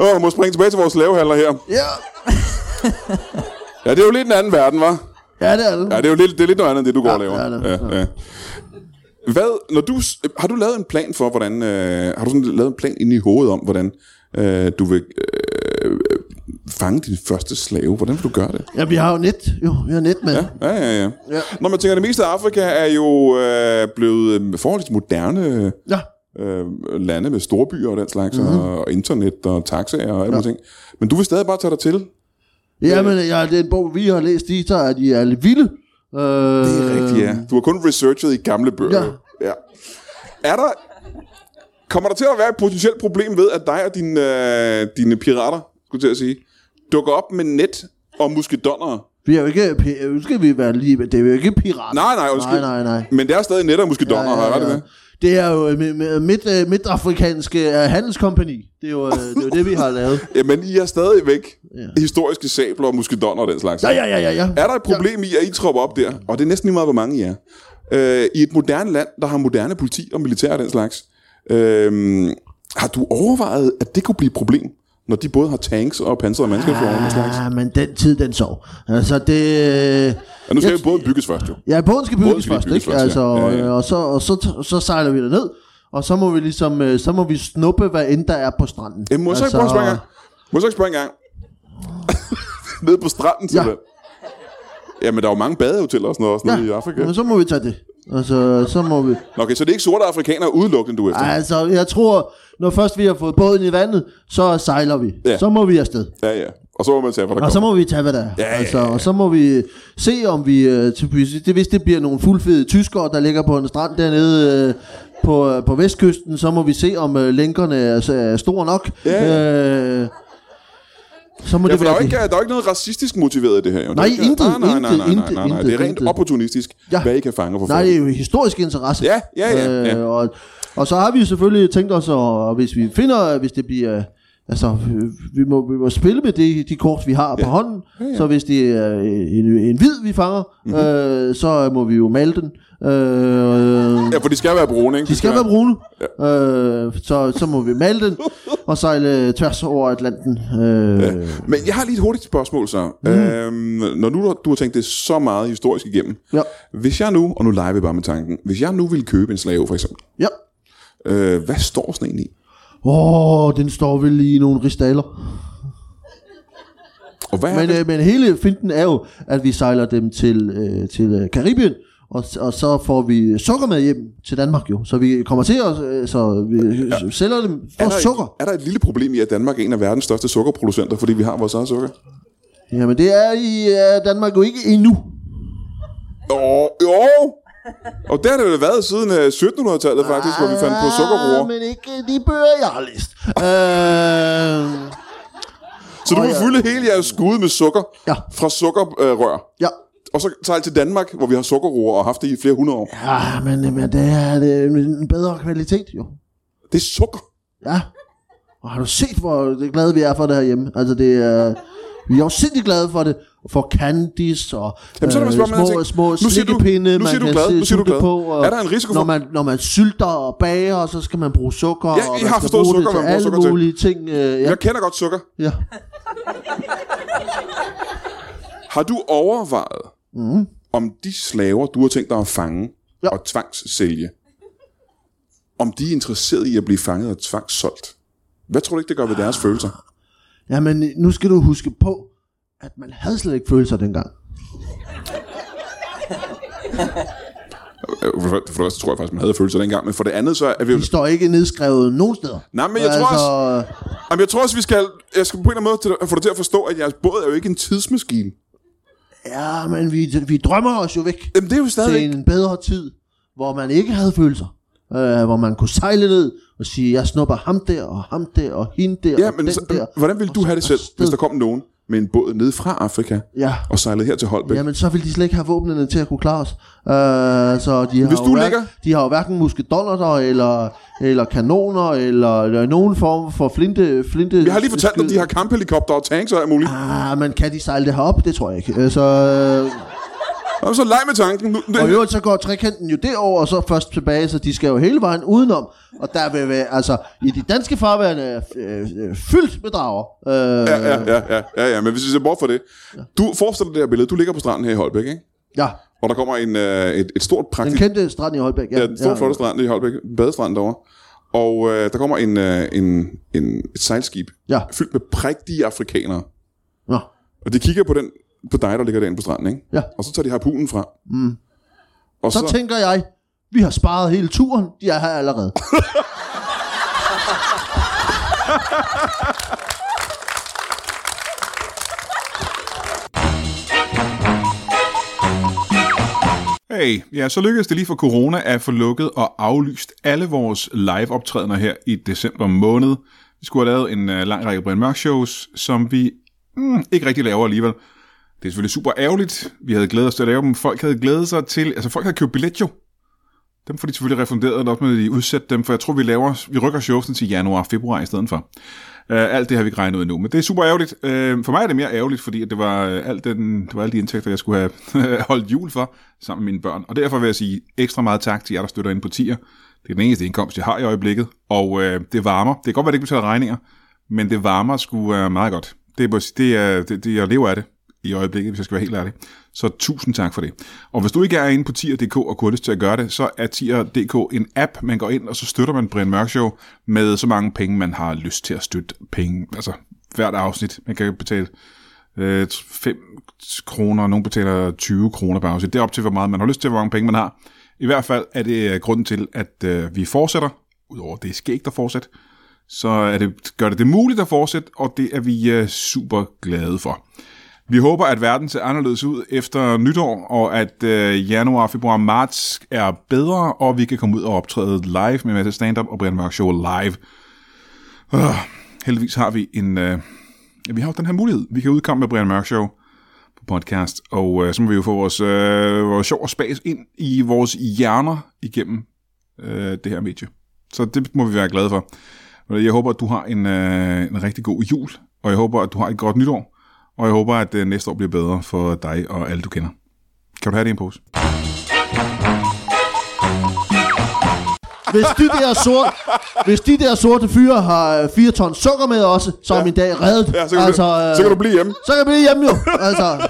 Speaker 1: Åh, jeg må springe tilbage til vores slavehandler her.
Speaker 2: Ja,
Speaker 1: Ja, det er jo lidt en anden verden, var.
Speaker 2: ja det er det.
Speaker 1: Ja, det er jo lidt, det er lidt noget andet, end det du går og laver.
Speaker 2: ja, det-
Speaker 1: ja, ja. Hvad, når du, s- har du lavet en plan for, hvordan, øh, har du sådan lavet en plan inde i hovedet om, hvordan øh, du vil øh, øh, fange din første slave? Hvordan vil du gøre det?
Speaker 2: Jamen, jeg har jo net. Jo, jeg har net, mand. Ja.
Speaker 1: Ja, ja, ja. ja.
Speaker 2: Ja.
Speaker 1: Når man tænker, at det meste af Afrika er jo øh, blevet øh, forholdsvis moderne
Speaker 2: ja.
Speaker 1: øh, lande med storbyer og den slags, mm-hmm. og, og internet og taxaer og alle ja. ting. Men du vil stadig bare tage dig til.
Speaker 2: Jamen, ja, det er en bog, vi har læst i, så er de er lidt vilde. Øh, det
Speaker 1: Det er rigtigt, ja. Du har kun researchet i gamle bøger. Øhm. Ja. ja. Er der... Kommer der til at være et potentielt problem ved, at dig og dine, øh, dine pirater, skulle jeg til at sige, dukker op med net og muskedonner?
Speaker 2: Vi er jo ikke, pi- nu skal vi være lige, det er jo ikke pirater.
Speaker 1: Nej, nej, undskyld.
Speaker 2: Nej, nej, nej.
Speaker 1: Men der er stadig net og muskedonner, ja, ja, ja. har jeg ret i det?
Speaker 2: Det er jo øh, mi- mi- midt, øh, midtafrikanske øh, handelskompani. Det er jo øh, det, er jo det, vi har lavet.
Speaker 1: Jamen, I er stadigvæk ja.
Speaker 2: Ja.
Speaker 1: historiske sabler og muskedonner og den slags.
Speaker 2: Ja, ja, ja, ja. ja.
Speaker 1: Er der et problem i, at I tropper op der? Og det er næsten lige meget, hvor mange I er. Øh, I et moderne land, der har moderne politi og militær og den slags. Øh, har du overvejet, at det kunne blive et problem? Når de både har tanks og pansrede mandskabsvogne og den slags.
Speaker 2: Ah, men den tid, den sov. Altså, det... øh,
Speaker 1: Og nu skal
Speaker 2: jeg-
Speaker 1: jo både bygges først jo.
Speaker 2: Ja, båden skal
Speaker 1: Båden
Speaker 2: bygges
Speaker 1: skal lige
Speaker 2: først,
Speaker 1: bygges
Speaker 2: ikke?
Speaker 1: først,
Speaker 2: Altså,
Speaker 1: ja. Ja, ja.
Speaker 2: øh, Og, så, og så, så sejler vi derned, og så må vi ligesom, øh, så må vi snuppe, hvad end der er på stranden.
Speaker 1: Jamen, må jeg så ikke
Speaker 2: altså,
Speaker 1: prøve at spørge en gang? Må jeg så ikke spørge en gang? Nede på stranden,
Speaker 2: Ja.
Speaker 1: simpelthen. Jamen, der er jo mange badehoteller og sådan noget også nede i Afrika.
Speaker 2: Men så må vi tage det. Altså, så må vi...
Speaker 1: Nå, Okay, så det er ikke sorte afrikanere udelukkende, du er efter?
Speaker 2: Altså, jeg tror, når først vi har fået båden i vandet, så sejler vi.
Speaker 1: Ja.
Speaker 2: Så må vi afsted.
Speaker 1: Ja, ja. Og så må man tage, hvad der
Speaker 2: Og så
Speaker 1: kommer.
Speaker 2: må vi tage, hvad der er.
Speaker 1: Ja, ja, ja.
Speaker 2: altså, og så må vi se, om vi... Øh, til- hvis det, hvis det bliver nogle fuldfede tyskere, der ligger på en strand dernede øh, på, øh, på vestkysten, så må vi se, om øh, lænkerne er, så er store nok.
Speaker 1: Ja,
Speaker 2: Øh, så må
Speaker 1: Ja,
Speaker 2: det
Speaker 1: for der
Speaker 2: være
Speaker 1: er, jo
Speaker 2: det.
Speaker 1: ikke, der er jo ikke noget racistisk motiveret i det her. Jo. Der
Speaker 2: Nej,
Speaker 1: er ikke,
Speaker 2: intet,
Speaker 1: nej, nej, nej, nej, nej,
Speaker 2: intet,
Speaker 1: nej, nej. Det er
Speaker 2: intet,
Speaker 1: rent
Speaker 2: intet.
Speaker 1: opportunistisk, ja.
Speaker 2: Ja.
Speaker 1: hvad I kan fange og få
Speaker 2: Nej,
Speaker 1: fat
Speaker 2: det
Speaker 1: i.
Speaker 2: er jo historisk interesse.
Speaker 1: Ja, ja, ja, ja.
Speaker 2: Øh, og, og så har vi jo selvfølgelig tænkt os, at, og hvis vi finder, hvis det bliver... Altså, øh, vi må, vi må spille med de, de kort, vi har ja. på hånden. Ja, ja. Så hvis det er en, en hvid, vi fanger,
Speaker 1: Mhm.
Speaker 2: mm-hmm. øh, så må vi jo male den. Øh,
Speaker 1: Ja, for de skal være brune, ikke?
Speaker 2: de skal være brune, ja. øh, så, så må vi male den. og sejle tværs over Atlanten. Øh,
Speaker 1: Men jeg har lige et hurtigt spørgsmål så. Mm. Øhm, når nu du, du har tænkt det så meget historisk igennem.
Speaker 2: Ja.
Speaker 1: Hvis jeg nu, og nu leger vi bare med tanken. Hvis jeg nu ville købe en slave for eksempel.
Speaker 2: ja.
Speaker 1: Øh, hvad står sådan en i?
Speaker 2: Åh, oh, den står vel i nogle ristaler.
Speaker 1: Og hvad er
Speaker 2: Men,
Speaker 1: det?
Speaker 2: øh, men hele finten er jo, at vi sejler dem til, øh, til øh, Karibien, og, og så får vi sukker med hjem til Danmark jo. Så vi kommer til at øh, så vi ja. sælger dem
Speaker 1: er,
Speaker 2: for
Speaker 1: der
Speaker 2: øh, sukker.
Speaker 1: Et, er der et lille problem i, at Danmark er en af verdens største sukkerproducenter, fordi vi har vores eget sukker?
Speaker 2: Jamen det er i øh, Danmark jo ikke endnu.
Speaker 1: Jo, jo. Og der har det vel været siden øh, 1700-tallet faktisk, hvor vi fandt på
Speaker 2: Ah,
Speaker 1: sukkerroer.
Speaker 2: men ikke de bøger, jeg har læst. øh,
Speaker 1: Så du
Speaker 2: Åh,
Speaker 1: vil
Speaker 2: ja.
Speaker 1: fylde hele jeres skud med sukker
Speaker 2: Ja.
Speaker 1: fra sukkerrør.
Speaker 2: ja.
Speaker 1: Og så sejle til Danmark, hvor vi har sukkerroer og har haft det i flere hundrede år.
Speaker 2: ja, men, men det er det er en bedre kvalitet jo.
Speaker 1: Det er sukker.
Speaker 2: Ja. Og har du set, hvor glade vi er for det herhjemme? Altså, det er... Vi er jo sindssygt glade for det. For candies og øh,
Speaker 1: Jamen, så er der
Speaker 2: små,
Speaker 1: spørgsmål, jeg tænker,
Speaker 2: små
Speaker 1: nu siger du-
Speaker 2: slikkepinde,
Speaker 1: nu siger
Speaker 2: man
Speaker 1: du
Speaker 2: kan
Speaker 1: glad,
Speaker 2: se-
Speaker 1: nu siger du
Speaker 2: sutte
Speaker 1: glad.
Speaker 2: på. og
Speaker 1: Er der en risiko for-
Speaker 2: Når man, når man sylter og bager, så skal man bruge sukker.
Speaker 1: jeg
Speaker 2: og man
Speaker 1: har
Speaker 2: skal
Speaker 1: forstået
Speaker 2: bruge
Speaker 1: sukker,
Speaker 2: det til
Speaker 1: man bruger
Speaker 2: alle
Speaker 1: sukker til.
Speaker 2: mulige ting. Øh, ja,
Speaker 1: Jeg kender godt sukker.
Speaker 2: ja.
Speaker 1: Har du overvejet, mm. om de slaver, du har tænkt dig at fange ja.
Speaker 2: Ja.
Speaker 1: og tvangssælge, om de er interesseret i at blive fanget og tvangssolgt? Hvad tror du ikke, det gør ved deres følelser?
Speaker 2: Jamen, nu skal du huske på, at man havde slet ikke følelser dengang.
Speaker 1: Øh, For for det første tror jeg faktisk, man havde følelser dengang, men for det andet så er vi jo...
Speaker 2: De står ikke nedskrevet nogen steder. Altså,
Speaker 1: Nej, men jeg tror
Speaker 2: også...
Speaker 1: Jamen, jeg tror også, vi skal... Jeg skal på en eller anden måde til, at få dig til at forstå, at jeres båd er jo ikke en tidsmaskine.
Speaker 2: Ja, men vi, vi drømmer os jo væk.
Speaker 1: Jamen, det er jo stadig...
Speaker 2: til en bedre tid, hvor man ikke havde følelser. Øh, hvor man kunne sejle ned og sige, jeg snupper ham der, og ham der, og hende der,
Speaker 1: Ja,
Speaker 2: og
Speaker 1: men
Speaker 2: Altså, den
Speaker 1: så,
Speaker 2: der.
Speaker 1: hvordan ville du have det selv,
Speaker 2: afsted.
Speaker 1: hvis der kom nogen med en båd nede fra Afrika
Speaker 2: Ja.
Speaker 1: og sejlede her til Holbæk?
Speaker 2: Jamen, så ville de slet ikke have våbnene til at kunne klare os. Øh, så de har
Speaker 1: Hvis
Speaker 2: jo
Speaker 1: du
Speaker 2: hver-
Speaker 1: ligger-
Speaker 2: De har jo hverken muskedollerter, eller, eller kanoner, eller, eller nogen form for flinte... flinte
Speaker 1: Jeg har lige fortalt dig, at de har kamphelikopter og tanks og alt muligt.
Speaker 2: Ah, men kan de sejle det herop? Det tror jeg ikke. Øh, Så, øh,
Speaker 1: Og så leg med tanken. Nu,
Speaker 2: og i
Speaker 1: det,
Speaker 2: øvrigt så går trekanten jo derover og så først tilbage, så de skal jo hele vejen udenom. Og der vil være, altså, i de danske farværende øh, øh, fyldt med drager. Øh,
Speaker 1: ja, ja, ja, ja, ja, ja, men hvis vi ser bort fra det. Du forestiller dig det her billede. Du ligger på stranden her i Holbæk, ikke?
Speaker 2: ja.
Speaker 1: Og der kommer en, øh, et, et stort
Speaker 2: Den
Speaker 1: praktisk...
Speaker 2: kendte strand i Holbæk.
Speaker 1: Ja, den store flotte strand i Holbæk. Badestrand derovre. Og øh, der kommer en, øh, en, en, et sejlskib
Speaker 2: Ja.
Speaker 1: fyldt med prægtige afrikanere.
Speaker 2: Nå.
Speaker 1: Og de kigger på, den, på dig, der ligger derinde på stranden, ikke?
Speaker 2: Ja.
Speaker 1: Og så tager de harpunen fra. Mm. Og så,
Speaker 2: Så, tænker jeg, vi har sparet hele turen, de er her allerede.
Speaker 4: Hey, ja, så lykkedes det lige for corona at få lukket og aflyst alle vores live-optrædener her i december måned. Vi skulle have lavet en øh, lang række Brian Mørk shows, som vi mm, ikke rigtig laver alligevel. Det er selvfølgelig super ærgerligt. Vi havde glædet os til at lave dem. Folk havde glædet sig til... Altså, folk havde købt billet jo. Dem får de selvfølgelig refunderet, og også med at de udsætte dem, for jeg tror, vi laver, vi rykker showsen til januar og februar i stedet for. Uh, alt det har vi ikke regnet ud endnu, men det er super ærgerligt. Uh, for mig er det mere ærgerligt, fordi at det var, uh, alt den, det var alle de indtægter, jeg skulle have holdt jul for sammen med mine børn. Og derfor vil jeg sige ekstra meget tak til jer, der støtter ind på tier. Det er den eneste indkomst, jeg har i øjeblikket, og uh, det varmer. Det kan godt være, det ikke betaler regninger, men det varmer sgu uh, meget godt. Det er, bare- det, er, det, det, jeg lever af det i øjeblikket, hvis jeg skal være helt ærlig. Så tusind tak for det. Og hvis du ikke er inde på tier.dk og kunne have lyst til at gøre det, så er tier.dk en app, man går ind, og så støtter man Brian Mørk Show med så mange penge, man har lyst til at støtte penge. Altså hvert afsnit. Man kan betale øh, 5 kroner, nogen betaler 20 kroner per afsnit. Det er op til, hvor meget man har lyst til, hvor mange penge man har. I hvert fald er det øh, grunden til, at øh, vi fortsætter. Udover det er skægt at fortsætte, så er det, gør det det muligt at fortsætte, og det er vi øh, super glade for. Vi håber, at verden ser anderledes ud efter nytår, og at øh, januar, februar, marts er bedre, og vi kan komme ud og optræde live med masse stand-up og Brian Mørk Show live. Øh, heldigvis har vi en... Øh, ja, vi har jo den her mulighed. Vi kan udkomme med Brian Mørk Show på podcast, og øh, så må vi jo få vores, øh, vores sjov og spas ind i vores hjerner igennem øh, det her medie. Så det må vi være glade for. Og Jeg håber, at du har en, øh, en rigtig god jul, og jeg håber, at du har et godt nytår, og jeg håber, at øh, næste år bliver bedre for dig og alle, du kender. Kan du have det i en pose?
Speaker 2: hvis de der sorte, hvis de der sorte fyre har 4 ton sukker med også, så er min dag reddet.
Speaker 1: Ja, så kan, altså,
Speaker 2: altså,
Speaker 1: du,
Speaker 2: øh,
Speaker 1: så kan du blive hjemme.
Speaker 2: så kan jeg blive hjemme jo. Altså,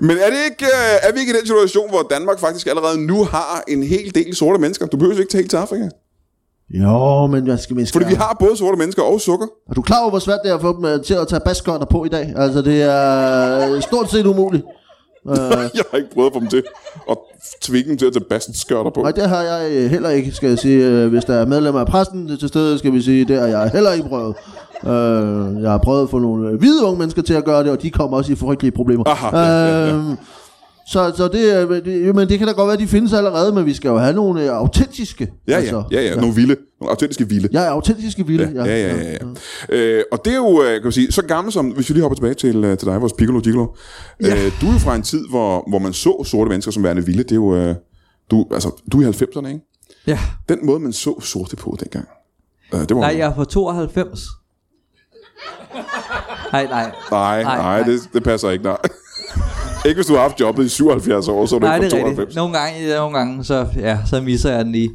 Speaker 1: Men er, det ikke, øh, er vi ikke i den situation, hvor Danmark faktisk allerede nu har en hel del sorte mennesker? Du behøver ikke tage helt til Afrika.
Speaker 2: jo, men jeg skal mindst.
Speaker 1: Fordi ja. vi har både sorte mennesker og sukker.
Speaker 2: Er du klar over, hvor svært det er at få dem øh, til at tage baskøjter på i dag? Altså, det er øh, stort set umuligt.
Speaker 1: Jeg har ikke prøvet at få dem til at tvinge dem til at tage basketskørter på.
Speaker 2: Nej, det har jeg øh, heller ikke, skal jeg sige. Øh, Hvis der er medlemmer af præsten til stede, skal vi sige, det har jeg heller ikke prøvet. Øh, jeg har prøvet at få nogle øh, hvide unge mennesker til at gøre det, og de kommer også i frygtelige problemer.
Speaker 1: Aha, ja, ja, ja.
Speaker 2: Øhm, Så, så det, er- det, men det kan da godt være, at de findes allerede, men vi skal jo have nogle øh, autentiske. altså.
Speaker 1: Ja, ja, ja, Altså, ja. Nogle vilde. Nogle autentiske vilde.
Speaker 2: Jeg er autentiske vilde.
Speaker 1: Ja, ja, ja. ja, ja. Øh, og det er jo, øh, kan man sige, så gammel som, hvis vi lige hopper tilbage til, øh, til dig, vores Piccolo Gigolo. Ja. Øh, du er jo fra en tid, hvor, hvor man så sorte mennesker som værende vilde. Det er jo, øh, du, altså, du er i 90'erne, ikke?
Speaker 3: Ja.
Speaker 1: Den måde, man så sorte på dengang. Øh, det var
Speaker 3: Nej, jeg er fra 92. Nej, nej.
Speaker 1: nej, nej,
Speaker 3: nej,
Speaker 1: nej.
Speaker 3: nej.
Speaker 1: Det, det passer ikke, nej. ikke hvis du har haft jobbet i 77 år, så er du
Speaker 3: Nej,
Speaker 1: ikke
Speaker 3: det
Speaker 1: fra
Speaker 3: er
Speaker 1: 92.
Speaker 3: rigtigt. Nogle gange, ja, nogle gange så, ja, så misser jeg den lige.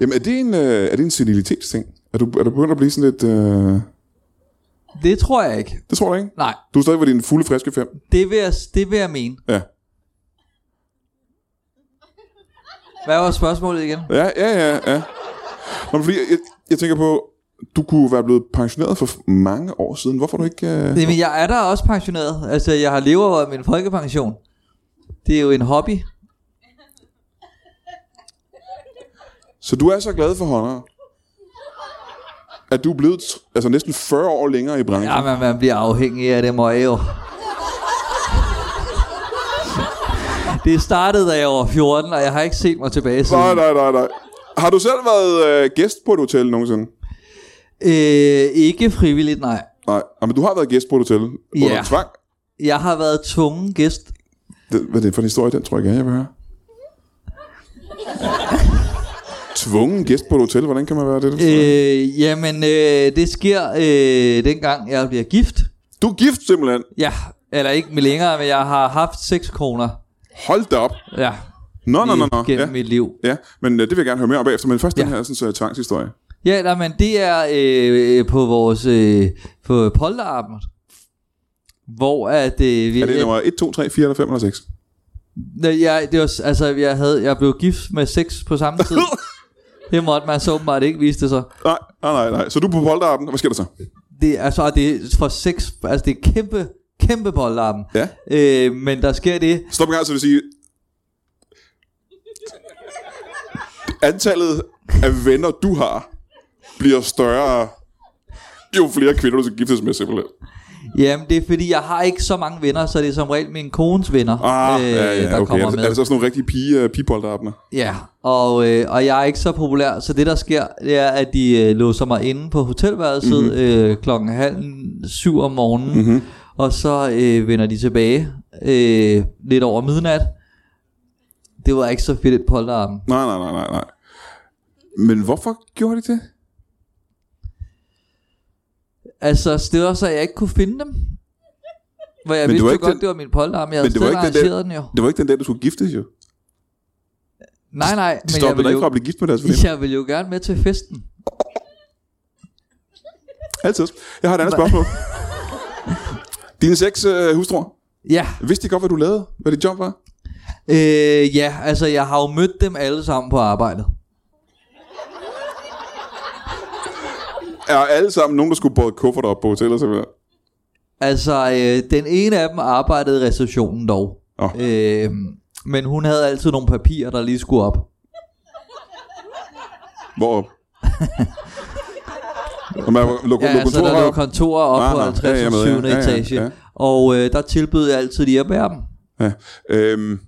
Speaker 1: Jamen, er det en, øh, er det en senilitetsting? Er du, er du begyndt at blive sådan lidt... Øh,
Speaker 3: Det tror jeg ikke.
Speaker 1: det tror jeg ikke.
Speaker 3: Nej,
Speaker 1: Du er stadig ved din fulde, friske fem.
Speaker 3: det vil jeg, det vil jeg mene.
Speaker 1: Ja.
Speaker 3: Hvad var spørgsmålet igen?
Speaker 1: Ja, ja, ja, ja. Nå, men fordi jeg, jeg tænker på, du kunne være blevet pensioneret for f- mange år siden. Hvorfor er du ikke... Øh...
Speaker 3: Jamen, jeg er da også pensioneret. Altså, jeg har levet af min folkepension. Det er jo en hobby.
Speaker 1: Så du er så glad for håndere, at du er blevet t- altså, næsten 40 år længere i branchen.
Speaker 3: Ja, men man bliver afhængig af det møje jo. Det startede, da jeg var 14, og jeg har ikke set mig tilbage siden.
Speaker 1: Nej, nej, nej, nej. Har du selv været øh, gæst på et hotel nogensinde?
Speaker 3: Øh, ikke frivilligt, nej.
Speaker 1: Nej, ah, men du har været gæst på et hotel under
Speaker 3: Ja.
Speaker 1: tvang.
Speaker 3: Jeg har været tvungen gæst.
Speaker 1: Det, hvad er det for en historie, den tror jeg gerne, jeg vil høre. Tvungen gæst på et hotel, hvordan kan man være det? Øh...
Speaker 3: Øh, jamen, øh, det sker øh, dengang, jeg bliver gift.
Speaker 1: Du er gift simpelthen.
Speaker 3: Ja, eller ikke med længere, men jeg har haft seks koner.
Speaker 1: Hold da op.
Speaker 3: Ja,
Speaker 1: Nå, nå, nå, nå.
Speaker 3: gennem
Speaker 1: Ja.
Speaker 3: mit liv.
Speaker 1: Ja, men øh, det vil jeg gerne høre mere om bagefter, men først ja. den
Speaker 3: Ja.
Speaker 1: her sådan, så, tvangshistorie.
Speaker 3: Ja, nej, men det er øh, øh, på vores øh, på polterabend, hvor at øh, vi,
Speaker 1: Er det nummer 1, 2, 3, 4 eller 5 eller 6?
Speaker 3: Nej, jeg, det var, s- altså, jeg, havde, jeg blev gift med seks på samme tid. det måtte man så åbenbart ikke viste sig.
Speaker 1: Nej, nej, nej, nej. Så du er på polterappen. Hvad sker der så?
Speaker 3: Det, er- altså, og det er for seks, altså det er kæmpe, kæmpe polterabend.
Speaker 1: Ja.
Speaker 3: Øh, men der sker det,
Speaker 1: Stop en gang, så vil sige... Antallet af venner, du har, bliver større, jo flere kvinder, du skal giftes med, simpelthen.
Speaker 3: jamen det er fordi, jeg har ikke så mange venner, så det er som regel min kones venner,
Speaker 1: Ah, øh, ja,
Speaker 3: der
Speaker 1: ja, okay. Er
Speaker 3: kommer
Speaker 1: det,
Speaker 3: med.
Speaker 1: er det så sådan nogle rigtige pige, uh, pigepolterappener?
Speaker 3: Ja, og, øh, og jeg er ikke så populær, så det der sker, det er, at de øh, låser mig inde på hotelværelset
Speaker 1: Mhm.
Speaker 3: mm-hmm. øh, klokken halv syv om morgenen, mm-hmm. og så øh, vender de tilbage øh, lidt over midnat. Det var ikke så fedt et polterarm.
Speaker 1: Nej, nej, nej, nej, nej. Men hvorfor gjorde de det?
Speaker 3: Altså, det var så, at jeg ikke kunne finde dem. Hvor
Speaker 1: Men det
Speaker 3: jeg Men
Speaker 1: var
Speaker 3: vidste jo
Speaker 1: ikke
Speaker 3: godt,
Speaker 1: den-
Speaker 3: det var min polterarm. Jeg
Speaker 1: Men
Speaker 3: havde
Speaker 1: det var
Speaker 3: selv
Speaker 1: ikke den der-
Speaker 3: arrangeret den, jo.
Speaker 1: Det var ikke den dag, du skulle giftes, jo.
Speaker 3: Nej, nej,
Speaker 1: De
Speaker 3: men jeg
Speaker 1: stoppede dig
Speaker 3: ville,
Speaker 1: ikke fra
Speaker 3: jo,
Speaker 1: at blive gift med deres veninde.
Speaker 3: jeg ville jo gerne med til festen.
Speaker 1: Altid. Jeg har et andet spørgsmål. Dine seks øh, hustruer,
Speaker 3: Ja,
Speaker 1: vidste de godt, hvad du lavede? Hvad dit job var?
Speaker 3: øh, ja, altså jeg har jo mødt dem alle sammen på arbejdet.
Speaker 1: Er alle sammen nogen, der skulle både kuffert op på hotellet, simpelthen?
Speaker 3: Altså, øh, den ene af dem arbejdede i receptionen dog.
Speaker 1: Nå.
Speaker 3: Øh, men hun havde altid nogle papirer, der lige skulle op.
Speaker 1: Hvor? Og man lukker
Speaker 3: Ja,
Speaker 1: ja,
Speaker 3: altså, der
Speaker 1: kontoret
Speaker 3: lå
Speaker 1: op.
Speaker 3: kontorer op
Speaker 1: Ah,
Speaker 3: på
Speaker 1: nå.
Speaker 3: 50.
Speaker 1: Ja,
Speaker 3: Ja,
Speaker 1: jeg ved,
Speaker 3: 7.
Speaker 1: ja.
Speaker 3: Ja,
Speaker 1: Ja, ja,
Speaker 3: etage.
Speaker 1: ja.
Speaker 3: Og øh, der tilbød jeg altid lige at bære dem.
Speaker 1: Ja. Øhm,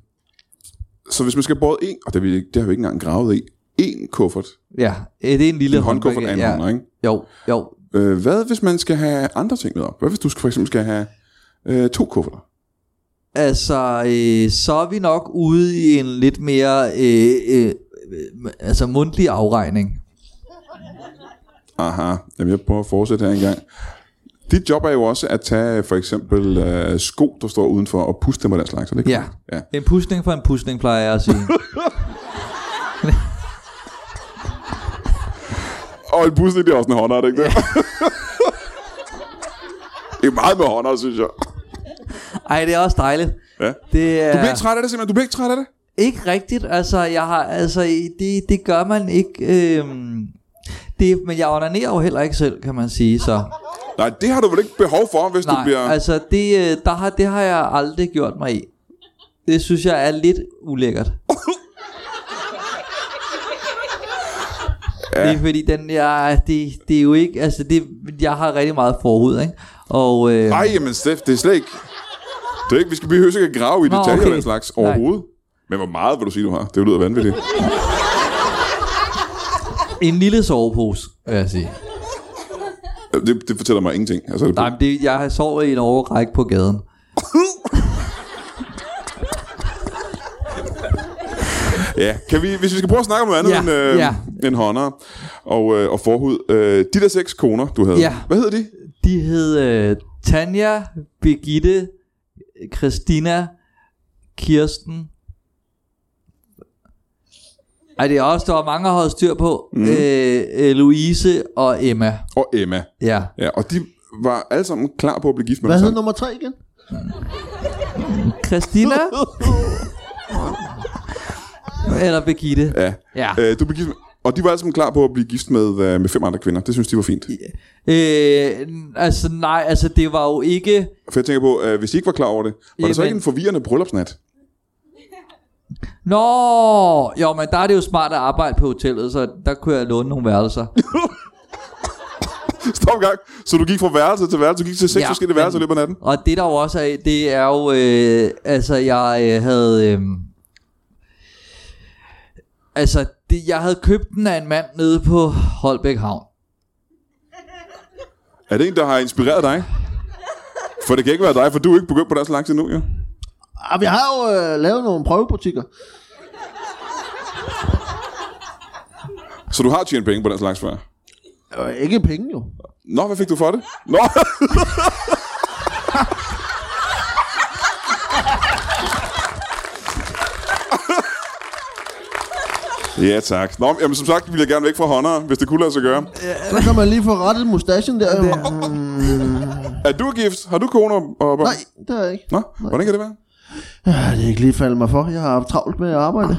Speaker 1: så hvis man skal både en, og det, har vi ikke- det har vi ikke engang gravet i, en kuffert,
Speaker 3: Ja, øh, det er en lille
Speaker 1: en håndkuffert af en
Speaker 3: ja.
Speaker 1: ja. ikke?
Speaker 3: Jo, jo.
Speaker 1: Øh, hvad hvis man skal have andre ting med op? Hvad hvis du for eksempel skal have øh, to kufferter?
Speaker 3: Altså, øh, så er vi nok ude i en lidt mere øh, øh, øh, altså mundtlig afregning.
Speaker 1: Aha, Jamen, jeg prøver at fortsætte her engang. Dit job er jo også at tage for eksempel øh, sko, der står udenfor, og puste dem og den slags. Er det ikke
Speaker 3: Ja.
Speaker 1: korrekt? ja.
Speaker 3: En pusning for en pusning, plejer jeg at sige.
Speaker 1: Og en buslinje er også en håndart, ikke det? det er meget med håndart, synes jeg.
Speaker 3: Ej, det er også dejligt.
Speaker 1: Ja.
Speaker 3: Det er
Speaker 1: Du bliver ikke træt af det, simpelthen. Du bliver ikke træt af det.
Speaker 3: ikke rigtigt. Altså, jeg har, altså det, det gør man ikke. Øhm, det, men jeg onanerer jo heller ikke selv, kan man sige. Så.
Speaker 1: Nej, det har du vel ikke behov for, hvis du
Speaker 3: Nej,
Speaker 1: bliver...
Speaker 3: altså det, øh, der har, det har jeg aldrig gjort mig i. Det synes jeg er lidt ulækkert. Ja. Det er fordi den, jeg, det, det er jo ikke, altså det, jeg har rigtig meget forhud, ikke? Og, øh,
Speaker 1: Nej, men Steff, det er slet ikke... Det er ikke, vi skal behøve ikke at grave i
Speaker 3: Nå,
Speaker 1: detaljer okay.
Speaker 3: okay.
Speaker 1: den slags overhovedet. Men hvor meget vil du sige, du har? Det lyder vanvittigt.
Speaker 3: en lille sovepose, vil jeg sige.
Speaker 1: Det, det fortæller mig ingenting. Altså, det,
Speaker 3: Nej, men det, jeg har sovet i en overrække på gaden.
Speaker 1: Ja, kan vi, hvis vi skal prøve at snakke om noget andet
Speaker 3: Ja,
Speaker 1: end, øh,
Speaker 3: ja.
Speaker 1: end hånder og, øh, og forhud. Øh, de der seks koner, du havde.
Speaker 3: Ja.
Speaker 1: Hvad hedder de?
Speaker 3: De hed øh, Tanja, Birgitte, Christina, Kirsten. Ej, det er også, der var mange, der havde styr på. Mm. Øh, øh, Louise og Emma.
Speaker 1: Og Emma.
Speaker 3: Ja.
Speaker 1: Ja, og de var alle sammen klar på at blive gift med
Speaker 2: Hvad
Speaker 1: dem
Speaker 2: hed
Speaker 1: sammen.
Speaker 2: nummer tre igen?
Speaker 3: Christina? Eller Birgitte.
Speaker 1: Ja.
Speaker 3: Ja.
Speaker 1: Øh, du blev gift med, og de var alle sammen klar på at blive gift med, øh, med fem andre kvinder. Det synes de var fint.
Speaker 3: Øh, altså nej, altså det var jo ikke...
Speaker 1: For jeg tænker på, øh, hvis de ikke var klar over det, var det så
Speaker 3: Jamen.
Speaker 1: ikke en forvirrende bryllupsnat?
Speaker 3: Nå, jo, men der er det jo smart at arbejde på hotellet, så der kunne jeg låne nogle værelser.
Speaker 1: Stop en gang. Så du gik fra værelse til værelse. Du gik til seks ja,
Speaker 3: Ja,
Speaker 1: forskellige værelser i
Speaker 3: men-
Speaker 1: løbet af natten.
Speaker 3: Og det der jo også er, det er jo, øh, altså jeg øh, havde, øh, altså det, jeg havde købt den af en mand nede på Holbæk Havn.
Speaker 1: Er det en, der har inspireret dig? For det kan ikke være dig, for du er ikke begyndt på det så lang tid nu, jo.
Speaker 2: Ah, vi har jo øh, lavet nogle prøvebutikker.
Speaker 1: Så du har tjent penge på den slags før?
Speaker 2: Øh, ikke penge jo.
Speaker 1: Nå, hvad fik du for det? Nå! ja, tak. Nå, jamen, som sagt ville jeg gerne væk fra håndere, hvis det kunne lade sig gøre.
Speaker 2: Så kan man lige få rettet mustachen der. Jo.
Speaker 1: Er du gift? Har du koner og børn?
Speaker 2: Nej, det er jeg ikke.
Speaker 1: Nå, hvordan kan det være?
Speaker 2: Ah, Det er ikke lige faldet mig for. Jeg har haft travlt med at arbejde.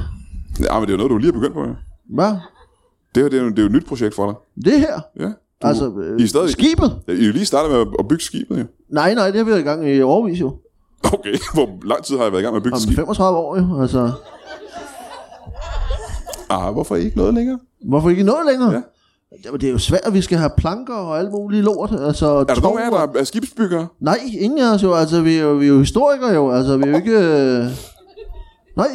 Speaker 1: Ja, men det er jo noget, du lige er begyndt på, ja.
Speaker 2: Hvad?
Speaker 1: Det, her, det, er, jo- det er jo et nyt projekt for dig.
Speaker 2: Det her?
Speaker 1: Ja. Du,
Speaker 2: Altså, øh,
Speaker 1: I er stadig...
Speaker 2: skibet?
Speaker 1: I er jo lige startet med at- at bygge skibet, ja.
Speaker 2: Nej, nej, det har vi været i gang i overvis jo.
Speaker 1: Okay, hvor lang tid har jeg været i gang med at bygge
Speaker 2: Om
Speaker 1: et skib?
Speaker 2: 35 år jo, altså.
Speaker 1: Ah, hvorfor ikke noget længere?
Speaker 2: Hvorfor ikke noget længere?
Speaker 1: Ja.
Speaker 2: Ja. Jamen, det er jo svært, at vi skal have planker og alt muligt lort. Altså,
Speaker 1: Er der nogen af jer, der er- er skibsbyggere?
Speaker 2: Nej, ingen af os jo. Altså, vi er jo, vi er jo historikere jo. Altså, vi er jo ikke... Øh... Nej,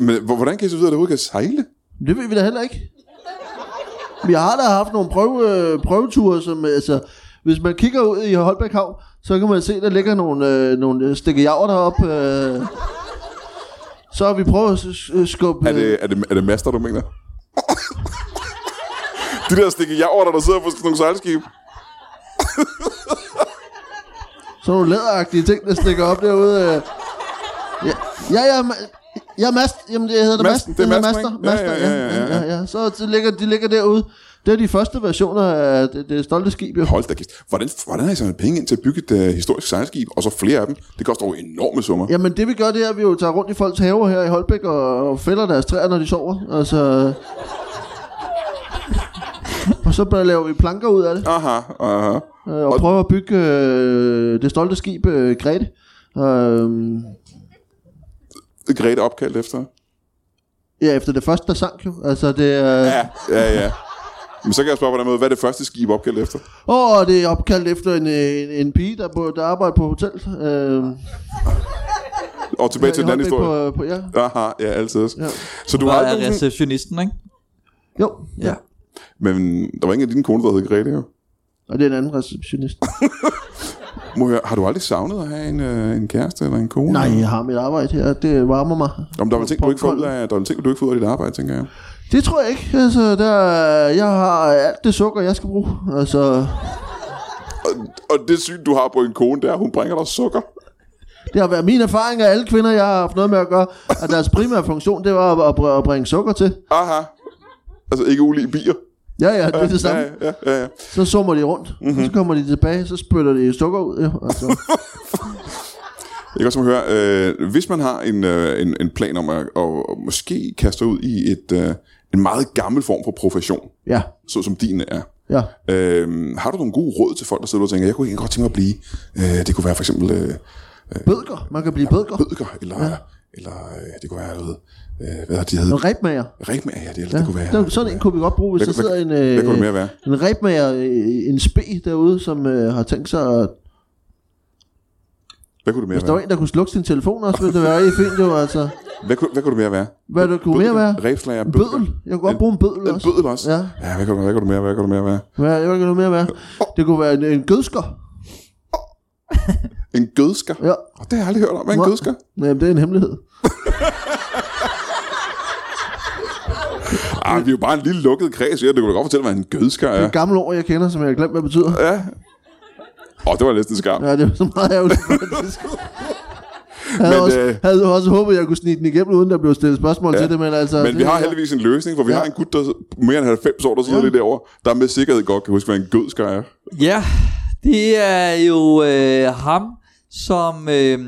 Speaker 1: Men hvor- hvordan kan I så vide, at det overhovedet kan sejle?
Speaker 2: det ved vi da heller ikke. Vi har da haft nogle prøve, øh, prøveture, som... Altså, hvis man kigger ud i Holbæk Havn, så kan man se, der ligger nogle, øh, nogle stikkejavr deroppe. Øh... Så har vi prøvet at s- s- skubbe... øh,
Speaker 1: Er det, er det, er det master, du mener? de der stikke javrter, der sidder på sådan nogle sejlskib.
Speaker 2: Sådan nogle læderagtige ting, der stikker op derude. øh. Ja, ja, ja, ma- ja mast, jamen det hedder det
Speaker 1: Masten,
Speaker 2: mast,
Speaker 1: det er
Speaker 2: hedder
Speaker 1: masten,
Speaker 2: master,
Speaker 1: ikke?
Speaker 2: master, ja, ja, ja, ja, ja. Så de ligger, de ligger derude. Det er de første versioner af det, det stolte skib, jo.
Speaker 1: Hold da kæft. Hvordan, hvordan har I samlet penge ind til at bygge et uh, historisk sejlskib, og så flere af dem? Det koster jo enorme summer. Ja.
Speaker 2: Jamen det vi gør, det er, at vi jo tager rundt i folks haver her i Holbæk og, og fælder deres træer, når de sover. Altså, og så bare laver vi planker ud af det,
Speaker 1: Aha, aha.
Speaker 2: øh, og prøver at bygge øh, det stolte skib, øh, Grete. Øh,
Speaker 1: Grete opkaldt efter.
Speaker 2: ja, efter det første, der sank jo. Altså, det er...
Speaker 1: Ja, ja, ja. Men så kan jeg spørge på den måde, hvad er det første skib opkaldt efter?
Speaker 2: Åh, oh, det er opkaldt efter en, øh, en, en pige, der, på, der arbejder på hotel. Øh,
Speaker 1: Og tilbage til den anden historie.
Speaker 2: På, på, ja.
Speaker 1: Aha, ja, altid. Ja.
Speaker 2: Ja.
Speaker 1: Så du
Speaker 3: Du
Speaker 1: har
Speaker 3: var
Speaker 1: aldrig
Speaker 3: er
Speaker 1: nogen...
Speaker 3: receptionisten, ikke?
Speaker 2: Jo, ja.
Speaker 1: Men der var ingen af dine koner, der hed Grete, jo.
Speaker 2: Og det er en anden receptionist.
Speaker 1: Må jeg, har du aldrig savnet at have en, øh, en kæreste eller en kone?
Speaker 2: Nej, jeg har mit arbejde her. Det varmer mig.
Speaker 1: Om der var ting, du ikke får ud
Speaker 2: Popcorn.
Speaker 1: af, der var ting, du ikke får ud af dit arbejde, tænker jeg.
Speaker 2: Det tror jeg ikke. Altså, der, jeg har alt det sukker, jeg skal bruge. Altså,
Speaker 1: Og det syn, du har på en kone der, hun bringer dig sukker.
Speaker 2: det har været min erfaring af alle kvinder, jeg har haft noget med at gøre, at deres primære funktion, det var at, at br- at bringe sukker til.
Speaker 1: Aha. Altså ikke ulige bier.
Speaker 2: Ja, ja, det er det samme.
Speaker 1: Ja, Mhm. ja, ja, ja.
Speaker 2: Så summer de rundt, mm-hmm. så kommer de tilbage, så spytter de sukker ud. Ja, Altså, og så,
Speaker 1: Jeg kan også høre, øh, hvis man har en, øh, en, en plan om at og, og måske kaste sig ud i et, øh, en meget gammel form for profession,
Speaker 2: ja,
Speaker 1: så som din er,
Speaker 2: ja.
Speaker 1: øh, har du nogle gode råd til folk, der sidder og tænker, jeg kunne egentlig godt tænke mig at blive, øh, det kunne være for eksempel øh,
Speaker 2: Bødker, man kan blive bødker.
Speaker 1: bødker, eller, ja. eller øh, det kunne være, noget, øh, hvad er de
Speaker 2: En
Speaker 1: hedder,
Speaker 2: rebmager.
Speaker 1: Rigmager, det, eller,
Speaker 2: Ja,
Speaker 1: ja. det kunne være,
Speaker 2: der, sådan en kunne vi godt bruge, hvis
Speaker 1: Hvad
Speaker 2: der
Speaker 1: kunne-
Speaker 2: sidder en,
Speaker 1: hvad-
Speaker 2: øh,
Speaker 1: hvad kunne det mere være?
Speaker 2: en rebmager, øh, en spe derude, som øh, har tænkt sig at
Speaker 1: hvad kunne det
Speaker 2: Hvis
Speaker 1: mere
Speaker 2: der var
Speaker 1: være?
Speaker 2: en, der kunne slukke sin telefon også, ville det være rigtig fint jo, altså.
Speaker 1: Hvad kunne, hvad kunne det mere være?
Speaker 2: Hvad der kunne mere være?
Speaker 1: Rebslager,
Speaker 2: En bødel. Jeg kunne godt bruge en bødel
Speaker 1: En
Speaker 2: også.
Speaker 1: bødel også?
Speaker 2: Ja.
Speaker 1: ja hvad, kunne, hvad kunne det mere være? Hvad kunne det mere være?
Speaker 2: Hvad, hvad kunne der mere være? Det kunne være en, en gødsker.
Speaker 1: En gødsker?
Speaker 2: Ja.
Speaker 1: Oh, det har jeg aldrig hørt om. Hvad er en
Speaker 2: Nå.
Speaker 1: gødsker?
Speaker 2: Nej, men det er en hemmelighed.
Speaker 1: Ah, vi er jo bare en lille lukket kreds. Ja, det kunne da godt fortælle mig, en gødsker
Speaker 2: Det
Speaker 1: er.
Speaker 2: er et gammelt ord, jeg kender, som jeg har glemt, hvad det betyder.
Speaker 1: Ja. Åh, oh, det var næsten skarpt.
Speaker 2: Ja, det er så meget ærgerligt. faktisk. Jeg havde,
Speaker 1: Men,
Speaker 2: også,
Speaker 1: øh,
Speaker 2: havde også håbet, at jeg kunne snige den igennem, uden der blev stillet spørgsmål ja. til det, men altså...
Speaker 1: Men
Speaker 2: det,
Speaker 1: vi har heldigvis en løsning, for vi
Speaker 2: Ja.
Speaker 1: har en gut, der mere end 90 år, der sidder
Speaker 2: Ja.
Speaker 1: lidt derovre, der med sikkerhed godt kan huske, hvad en gødsker er.
Speaker 3: Ja, det er jo øh, ham, som øh,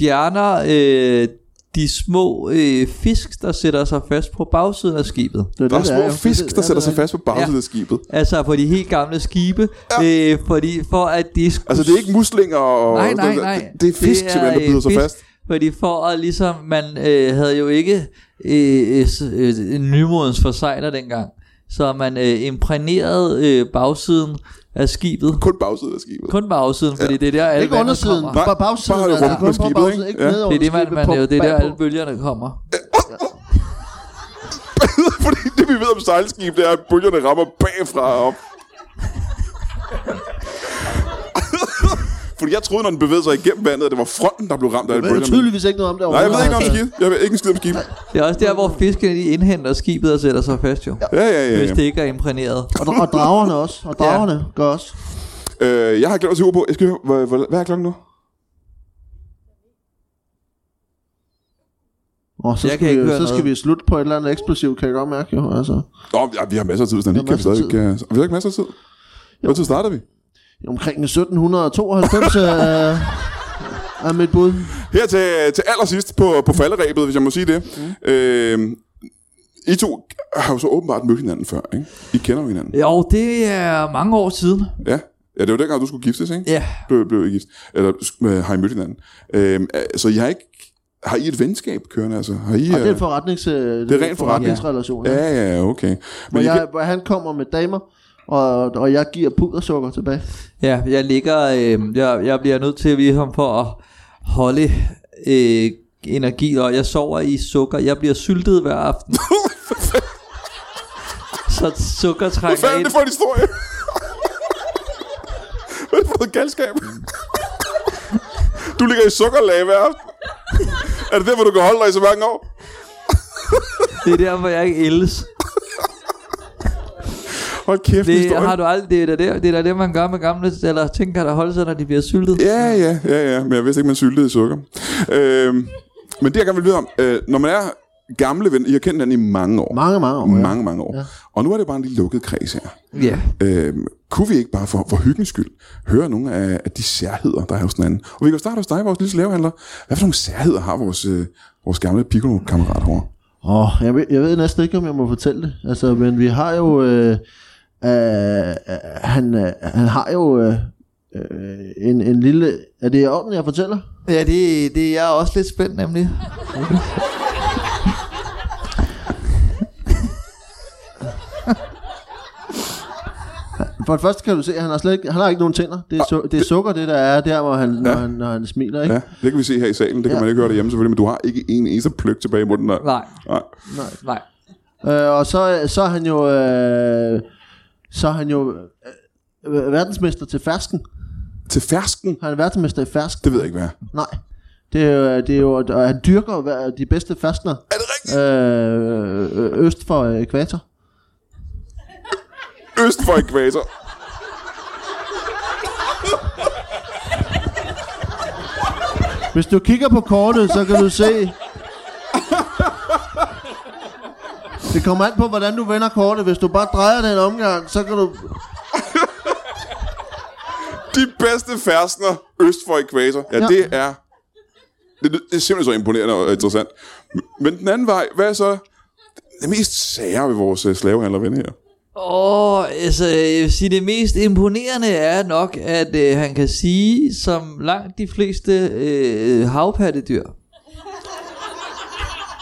Speaker 3: fjerner øh, de små øh, fisk, der sætter sig fast på bagsiden af skibet.
Speaker 2: det,
Speaker 1: Der er små
Speaker 2: jo.
Speaker 1: fisk,
Speaker 2: Det- det
Speaker 1: der
Speaker 2: er
Speaker 1: sætter
Speaker 2: det
Speaker 1: sig
Speaker 2: rigtigt.
Speaker 1: fast på bagsiden af skibet.
Speaker 3: Altså på de helt gamle skibe, ja. øh, fordi for at de skulle...
Speaker 1: Altså, det er ikke muslinger og...
Speaker 3: Nej, nej,
Speaker 1: det-
Speaker 3: nej.
Speaker 1: Det, det er fisk, simpelthen, der
Speaker 3: øh,
Speaker 1: bider sig
Speaker 3: fisk,
Speaker 1: fast.
Speaker 3: Fordi for at ligesom, man øh, havde jo ikke øh, øh, s- øh, en nymodens forsejler dengang, så man øh, imprægnerede øh, bagsiden af skibet.
Speaker 1: Kun bagsiden af skibet.
Speaker 3: Kun bagsiden, fordi det er der alle
Speaker 2: Ikke
Speaker 3: vandet
Speaker 2: undersiden,
Speaker 3: kommer.
Speaker 2: bare
Speaker 1: Nej,
Speaker 2: bagsiden.
Speaker 1: bare rumpen
Speaker 2: kun
Speaker 1: af
Speaker 2: på
Speaker 1: skibet,
Speaker 2: bagsiden,
Speaker 1: ikke?
Speaker 2: ikke
Speaker 1: Ja.
Speaker 2: ned
Speaker 3: Det
Speaker 2: over
Speaker 3: er det, man,
Speaker 2: skibet,
Speaker 3: man
Speaker 2: på
Speaker 3: laver. Det er der,
Speaker 2: bagpå.
Speaker 3: alle bølgerne kommer.
Speaker 1: Fordi det, vi ved om sejlskib, det er, at bølgerne rammer bagfra og op. Fordi jeg troede, når den bevægede sig igennem vandet, at det var fronten, der blev ramt af
Speaker 2: Jeg ved jo
Speaker 1: bølgerne.
Speaker 2: tydeligvis ikke noget om det
Speaker 1: Nej, jeg ved ikke noget om
Speaker 2: overhovedet,
Speaker 1: skib. Jeg ved ikke en skid om skib.
Speaker 3: Det er også der, hvor fiskene de indhenter skibet og sætter sig fast, jo.
Speaker 1: Ja, ja, ja.
Speaker 3: Hvis
Speaker 1: ja.
Speaker 3: det ikke er imprægneret.
Speaker 2: altså. Og, og dragerne også. Og dragerne gør også.
Speaker 1: Øh, jeg har glemt at se ur på. Jeg skal høre, hvad, hvad, hvad er klokken nu?
Speaker 2: Og så,
Speaker 3: Jeg
Speaker 2: jeg
Speaker 3: kan
Speaker 2: skal,
Speaker 3: ikke
Speaker 2: vi,
Speaker 3: høre
Speaker 2: så skal
Speaker 3: noget.
Speaker 2: vi slutte på et eller andet eksplosivt, kan jeg godt mærke jo. Altså.
Speaker 1: Nå, ja, vi har masser af tid, hvis den
Speaker 2: Vi
Speaker 1: lige kan
Speaker 2: har
Speaker 1: vi stadig
Speaker 2: masser af
Speaker 1: ikke... øh, Vi har ikke masser af tid. Hvad tid starter vi?
Speaker 2: Omkring 1792 er, øh, er mit bud.
Speaker 1: Her til, til allersidst på, på falderæbet, hvis jeg må sige det. Mm. Øh, I to har jo så åbenbart mødt hinanden før, ikke? I kender jo hinanden.
Speaker 3: Jo, det er mange år siden.
Speaker 1: Ja. Ja, det var dengang, du skulle giftes, ikke?
Speaker 3: Ja,
Speaker 1: Blev, blev I gift. Eller øh, har I mødt hinanden. Øh, så I har ikke... Har I et venskab kørende, altså? Har I...
Speaker 2: Og det er
Speaker 1: øh,
Speaker 2: en forretnings, øh, det
Speaker 1: er rent
Speaker 2: forretningsrelation. Ja.
Speaker 1: Ja, ja, okay.
Speaker 2: Hvor,
Speaker 1: Men I,
Speaker 2: jeg, hvor han kommer med damer, og, og jeg giver pudersukker tilbage.
Speaker 3: ja jeg ligger... Øh, jeg, jeg bliver nødt til at vide ham for at holde øh, energi, og jeg sover i sukker. Jeg bliver syltet hver aften. Så sukker
Speaker 1: Hvad
Speaker 3: trænger
Speaker 1: fanden er
Speaker 3: ind.
Speaker 1: det for en historie? Hvad er det for noget galskab? Du ligger i sukkerlag hver aften. Er det derfor, du kan holde dig i så mange år?
Speaker 3: Det er derfor, jeg ikke ældes.
Speaker 1: Hold kæft, det
Speaker 3: Det
Speaker 1: historie.
Speaker 3: har du aldrig. Det er da det, det, er da det man gør med gamle, eller tænker, der holder sig, når de bliver syltet.
Speaker 1: Ja, ja, ja, ja. Men jeg vidste ikke, man syltede i sukker. Øhm, men det, jeg gerne vil vide om, øh, når man er gamle ven, I har kendt hinanden i mange år.
Speaker 2: Mange, mange år.
Speaker 1: mange,
Speaker 2: Ja.
Speaker 1: mange, mange år. Ja. Og nu er det bare en lille lukket kreds her.
Speaker 3: Ja.
Speaker 1: Øhm, kunne vi ikke bare for, for hyggens skyld høre nogle af, af de særheder, der er hos den anden? Og vi kan jo starte hos dig, vores lille slavehandler. Hvad for nogle særheder har vores, øh, vores gamle piccolo-kammerat herovre?
Speaker 2: Åh, jeg, ved, jeg ved næsten ikke, om jeg må fortælle det. Altså, men vi har jo... Øh, øh, han, øh, han har jo øh, øh, en, en lille... Er det i orden, jeg fortæller?
Speaker 3: Ja, det, det er jeg også lidt spændt nemlig.
Speaker 2: For det første kan du se, at han har, slet ikke, han har ikke nogen tænder. Det er, su- det er sukker, det der er der, hvor han, når, han, når han smiler. Ikke?
Speaker 1: Ja, det kan vi se her i salen. Det kan ja. man ikke høre derhjemme selvfølgelig, men du har ikke en eneste pløk tilbage i munden. Nej.
Speaker 3: Nej,
Speaker 1: Nej.
Speaker 3: nej.
Speaker 2: Øh, og så, så er han jo, øh, så er han jo øh, verdensmester til fersken.
Speaker 1: Til fersken,
Speaker 2: Han er verdensmester i fersken.
Speaker 1: det ved jeg ikke hvad er.
Speaker 2: Nej. Det er, jo- øh, det er jo, og han dyrker jo hver- de bedste ferskner
Speaker 1: Er det rigtigt?
Speaker 2: øh, øh, øst for øh, ekvator.
Speaker 1: Øst for ekvator.
Speaker 2: Hvis du kigger på kortet, så kan du se... Det kommer an på, hvordan du vender kortet. Hvis du bare drejer den omgang, så kan du...
Speaker 1: De bedste færdsner øst for ekvator. Ja, ja.
Speaker 2: Ja.
Speaker 1: det er... Det, det er simpelthen så imponerende og interessant. Men den anden vej, hvad er så det mest sære ved vores øh, slavehandlerven her?
Speaker 3: Åh, oh, altså, jeg vil sige, det mest imponerende er nok, at øh, han kan sige, som langt de fleste øh, havpattedyr.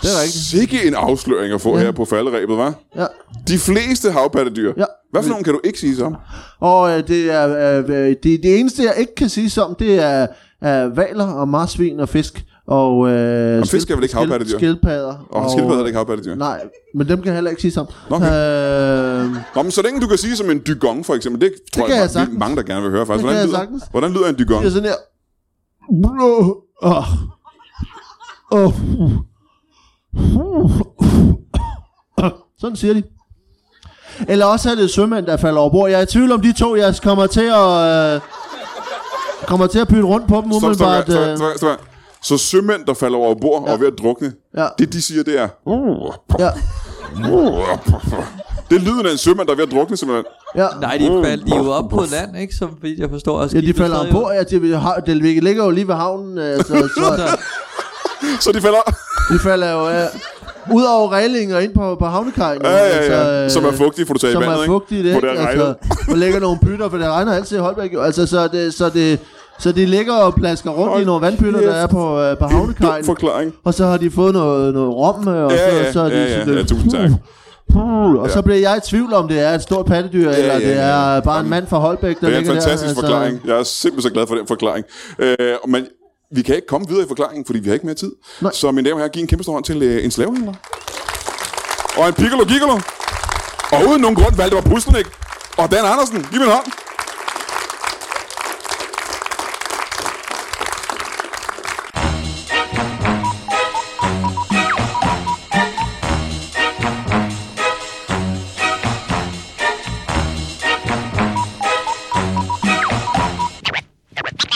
Speaker 3: Det er rigtigt.
Speaker 1: Sikke en afsløring at få ja. her på falderæbet, var.
Speaker 2: Ja.
Speaker 1: De fleste havpattedyr.
Speaker 2: Ja.
Speaker 1: Hvad for nogen kan du ikke sige som?
Speaker 2: Og øh, det er... Øh, øh, det, det eneste, jeg ikke kan sige som, det er øh, valer og marsvin og fisk. Og, øh, Om
Speaker 1: fisk er vel ikke havpattedyr?
Speaker 2: Skildpadder.
Speaker 1: Og, og skildpadder er det ikke havpattedyr.
Speaker 2: Nej, men dem kan jeg heller ikke sige sammen.
Speaker 1: Nå, okay.
Speaker 2: Øh,
Speaker 1: Nå, men så længe du kan sige som en dygong, for eksempel. Det, tror
Speaker 2: kan
Speaker 1: jeg,
Speaker 2: jeg
Speaker 1: ma-
Speaker 2: sagtens.
Speaker 1: mange, der gerne vil høre, faktisk.
Speaker 2: Det
Speaker 1: Hvordan,
Speaker 2: kan jeg
Speaker 1: lyder,
Speaker 2: sagtens.
Speaker 1: hvordan lyder en dygong?
Speaker 2: det er sådan her. Bro. Åh. Åh. Sådan siger de. Eller også er det sømænd, der falder over bord. Jeg er i tvivl om de to, jeg kommer til at... Øh, kommer til at pytte rundt på dem
Speaker 1: Stop, stop,
Speaker 2: umiddelbart.
Speaker 1: stop,
Speaker 2: Øh,
Speaker 1: stop, stop, stop. Så sømænd, der falder over bord ja. og er ved at drukne,
Speaker 2: Ja.
Speaker 1: det de siger, det er... "Uh,
Speaker 2: ja,
Speaker 1: uh, uh." Det er lyden af en sømand, der er ved at drukne, simpelthen.
Speaker 2: ja.
Speaker 3: Nej, de faldt de er jo op på land, ikke? Som vidt jeg forstår. Og
Speaker 2: Ja, de
Speaker 3: skibet
Speaker 2: falder
Speaker 3: stadig-
Speaker 2: på. Ja, de, har- det ligger jo lige ved havnen. Øh, så, så,
Speaker 3: Så-
Speaker 1: Så de falder...
Speaker 2: de falder jo øh, ud over reglingen og ind på, på havnekajen. øh,
Speaker 1: Ja, ja, ja. Som er fugtig, får du tage i
Speaker 2: altså, som
Speaker 1: vandet,
Speaker 2: er
Speaker 1: ikke?
Speaker 2: fugtig, det,
Speaker 1: Hvor det
Speaker 2: ikke?
Speaker 1: er regnet.
Speaker 2: Altså, og lægger nogle pytter, for det regner altid i Holbæk jo. Altså, så det, så det, så de ligger og plasker rundt
Speaker 1: Hold
Speaker 2: i nogle vandpytter, der
Speaker 1: kæft.
Speaker 2: er på, øh, på
Speaker 1: Dum
Speaker 2: havnekajen.
Speaker 1: forklaring.
Speaker 2: Og så har de fået noget, noget rom, øh, og
Speaker 1: Ja,
Speaker 2: så,
Speaker 1: ja,
Speaker 2: så er
Speaker 1: ja,
Speaker 2: de
Speaker 1: ja,
Speaker 2: sådan Hmm.
Speaker 1: ja, tusind tak.
Speaker 2: Puh, og så bliver jeg i tvivl om, det er et stort pattedyr,
Speaker 1: ja,
Speaker 2: eller det
Speaker 1: ja.
Speaker 2: er bare en mand fra Holbæk, der altså,
Speaker 1: Det er en
Speaker 2: ligger
Speaker 1: fantastisk
Speaker 2: der.
Speaker 1: forklaring. Jeg er simpelthen så glad for den forklaring. Øh, og men vi kan ikke komme videre i forklaringen, fordi vi har ikke mere tid. Nej.
Speaker 2: Nej.
Speaker 1: Så mine damer og herrer, giv en kæmpe stor hånd til øh, en slavehandler. Og en piccolo gigolo. Og uden nogen grund valgte var Puslenik. Og Dan Andersen, giv mig en hånd.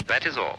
Speaker 5: That is all.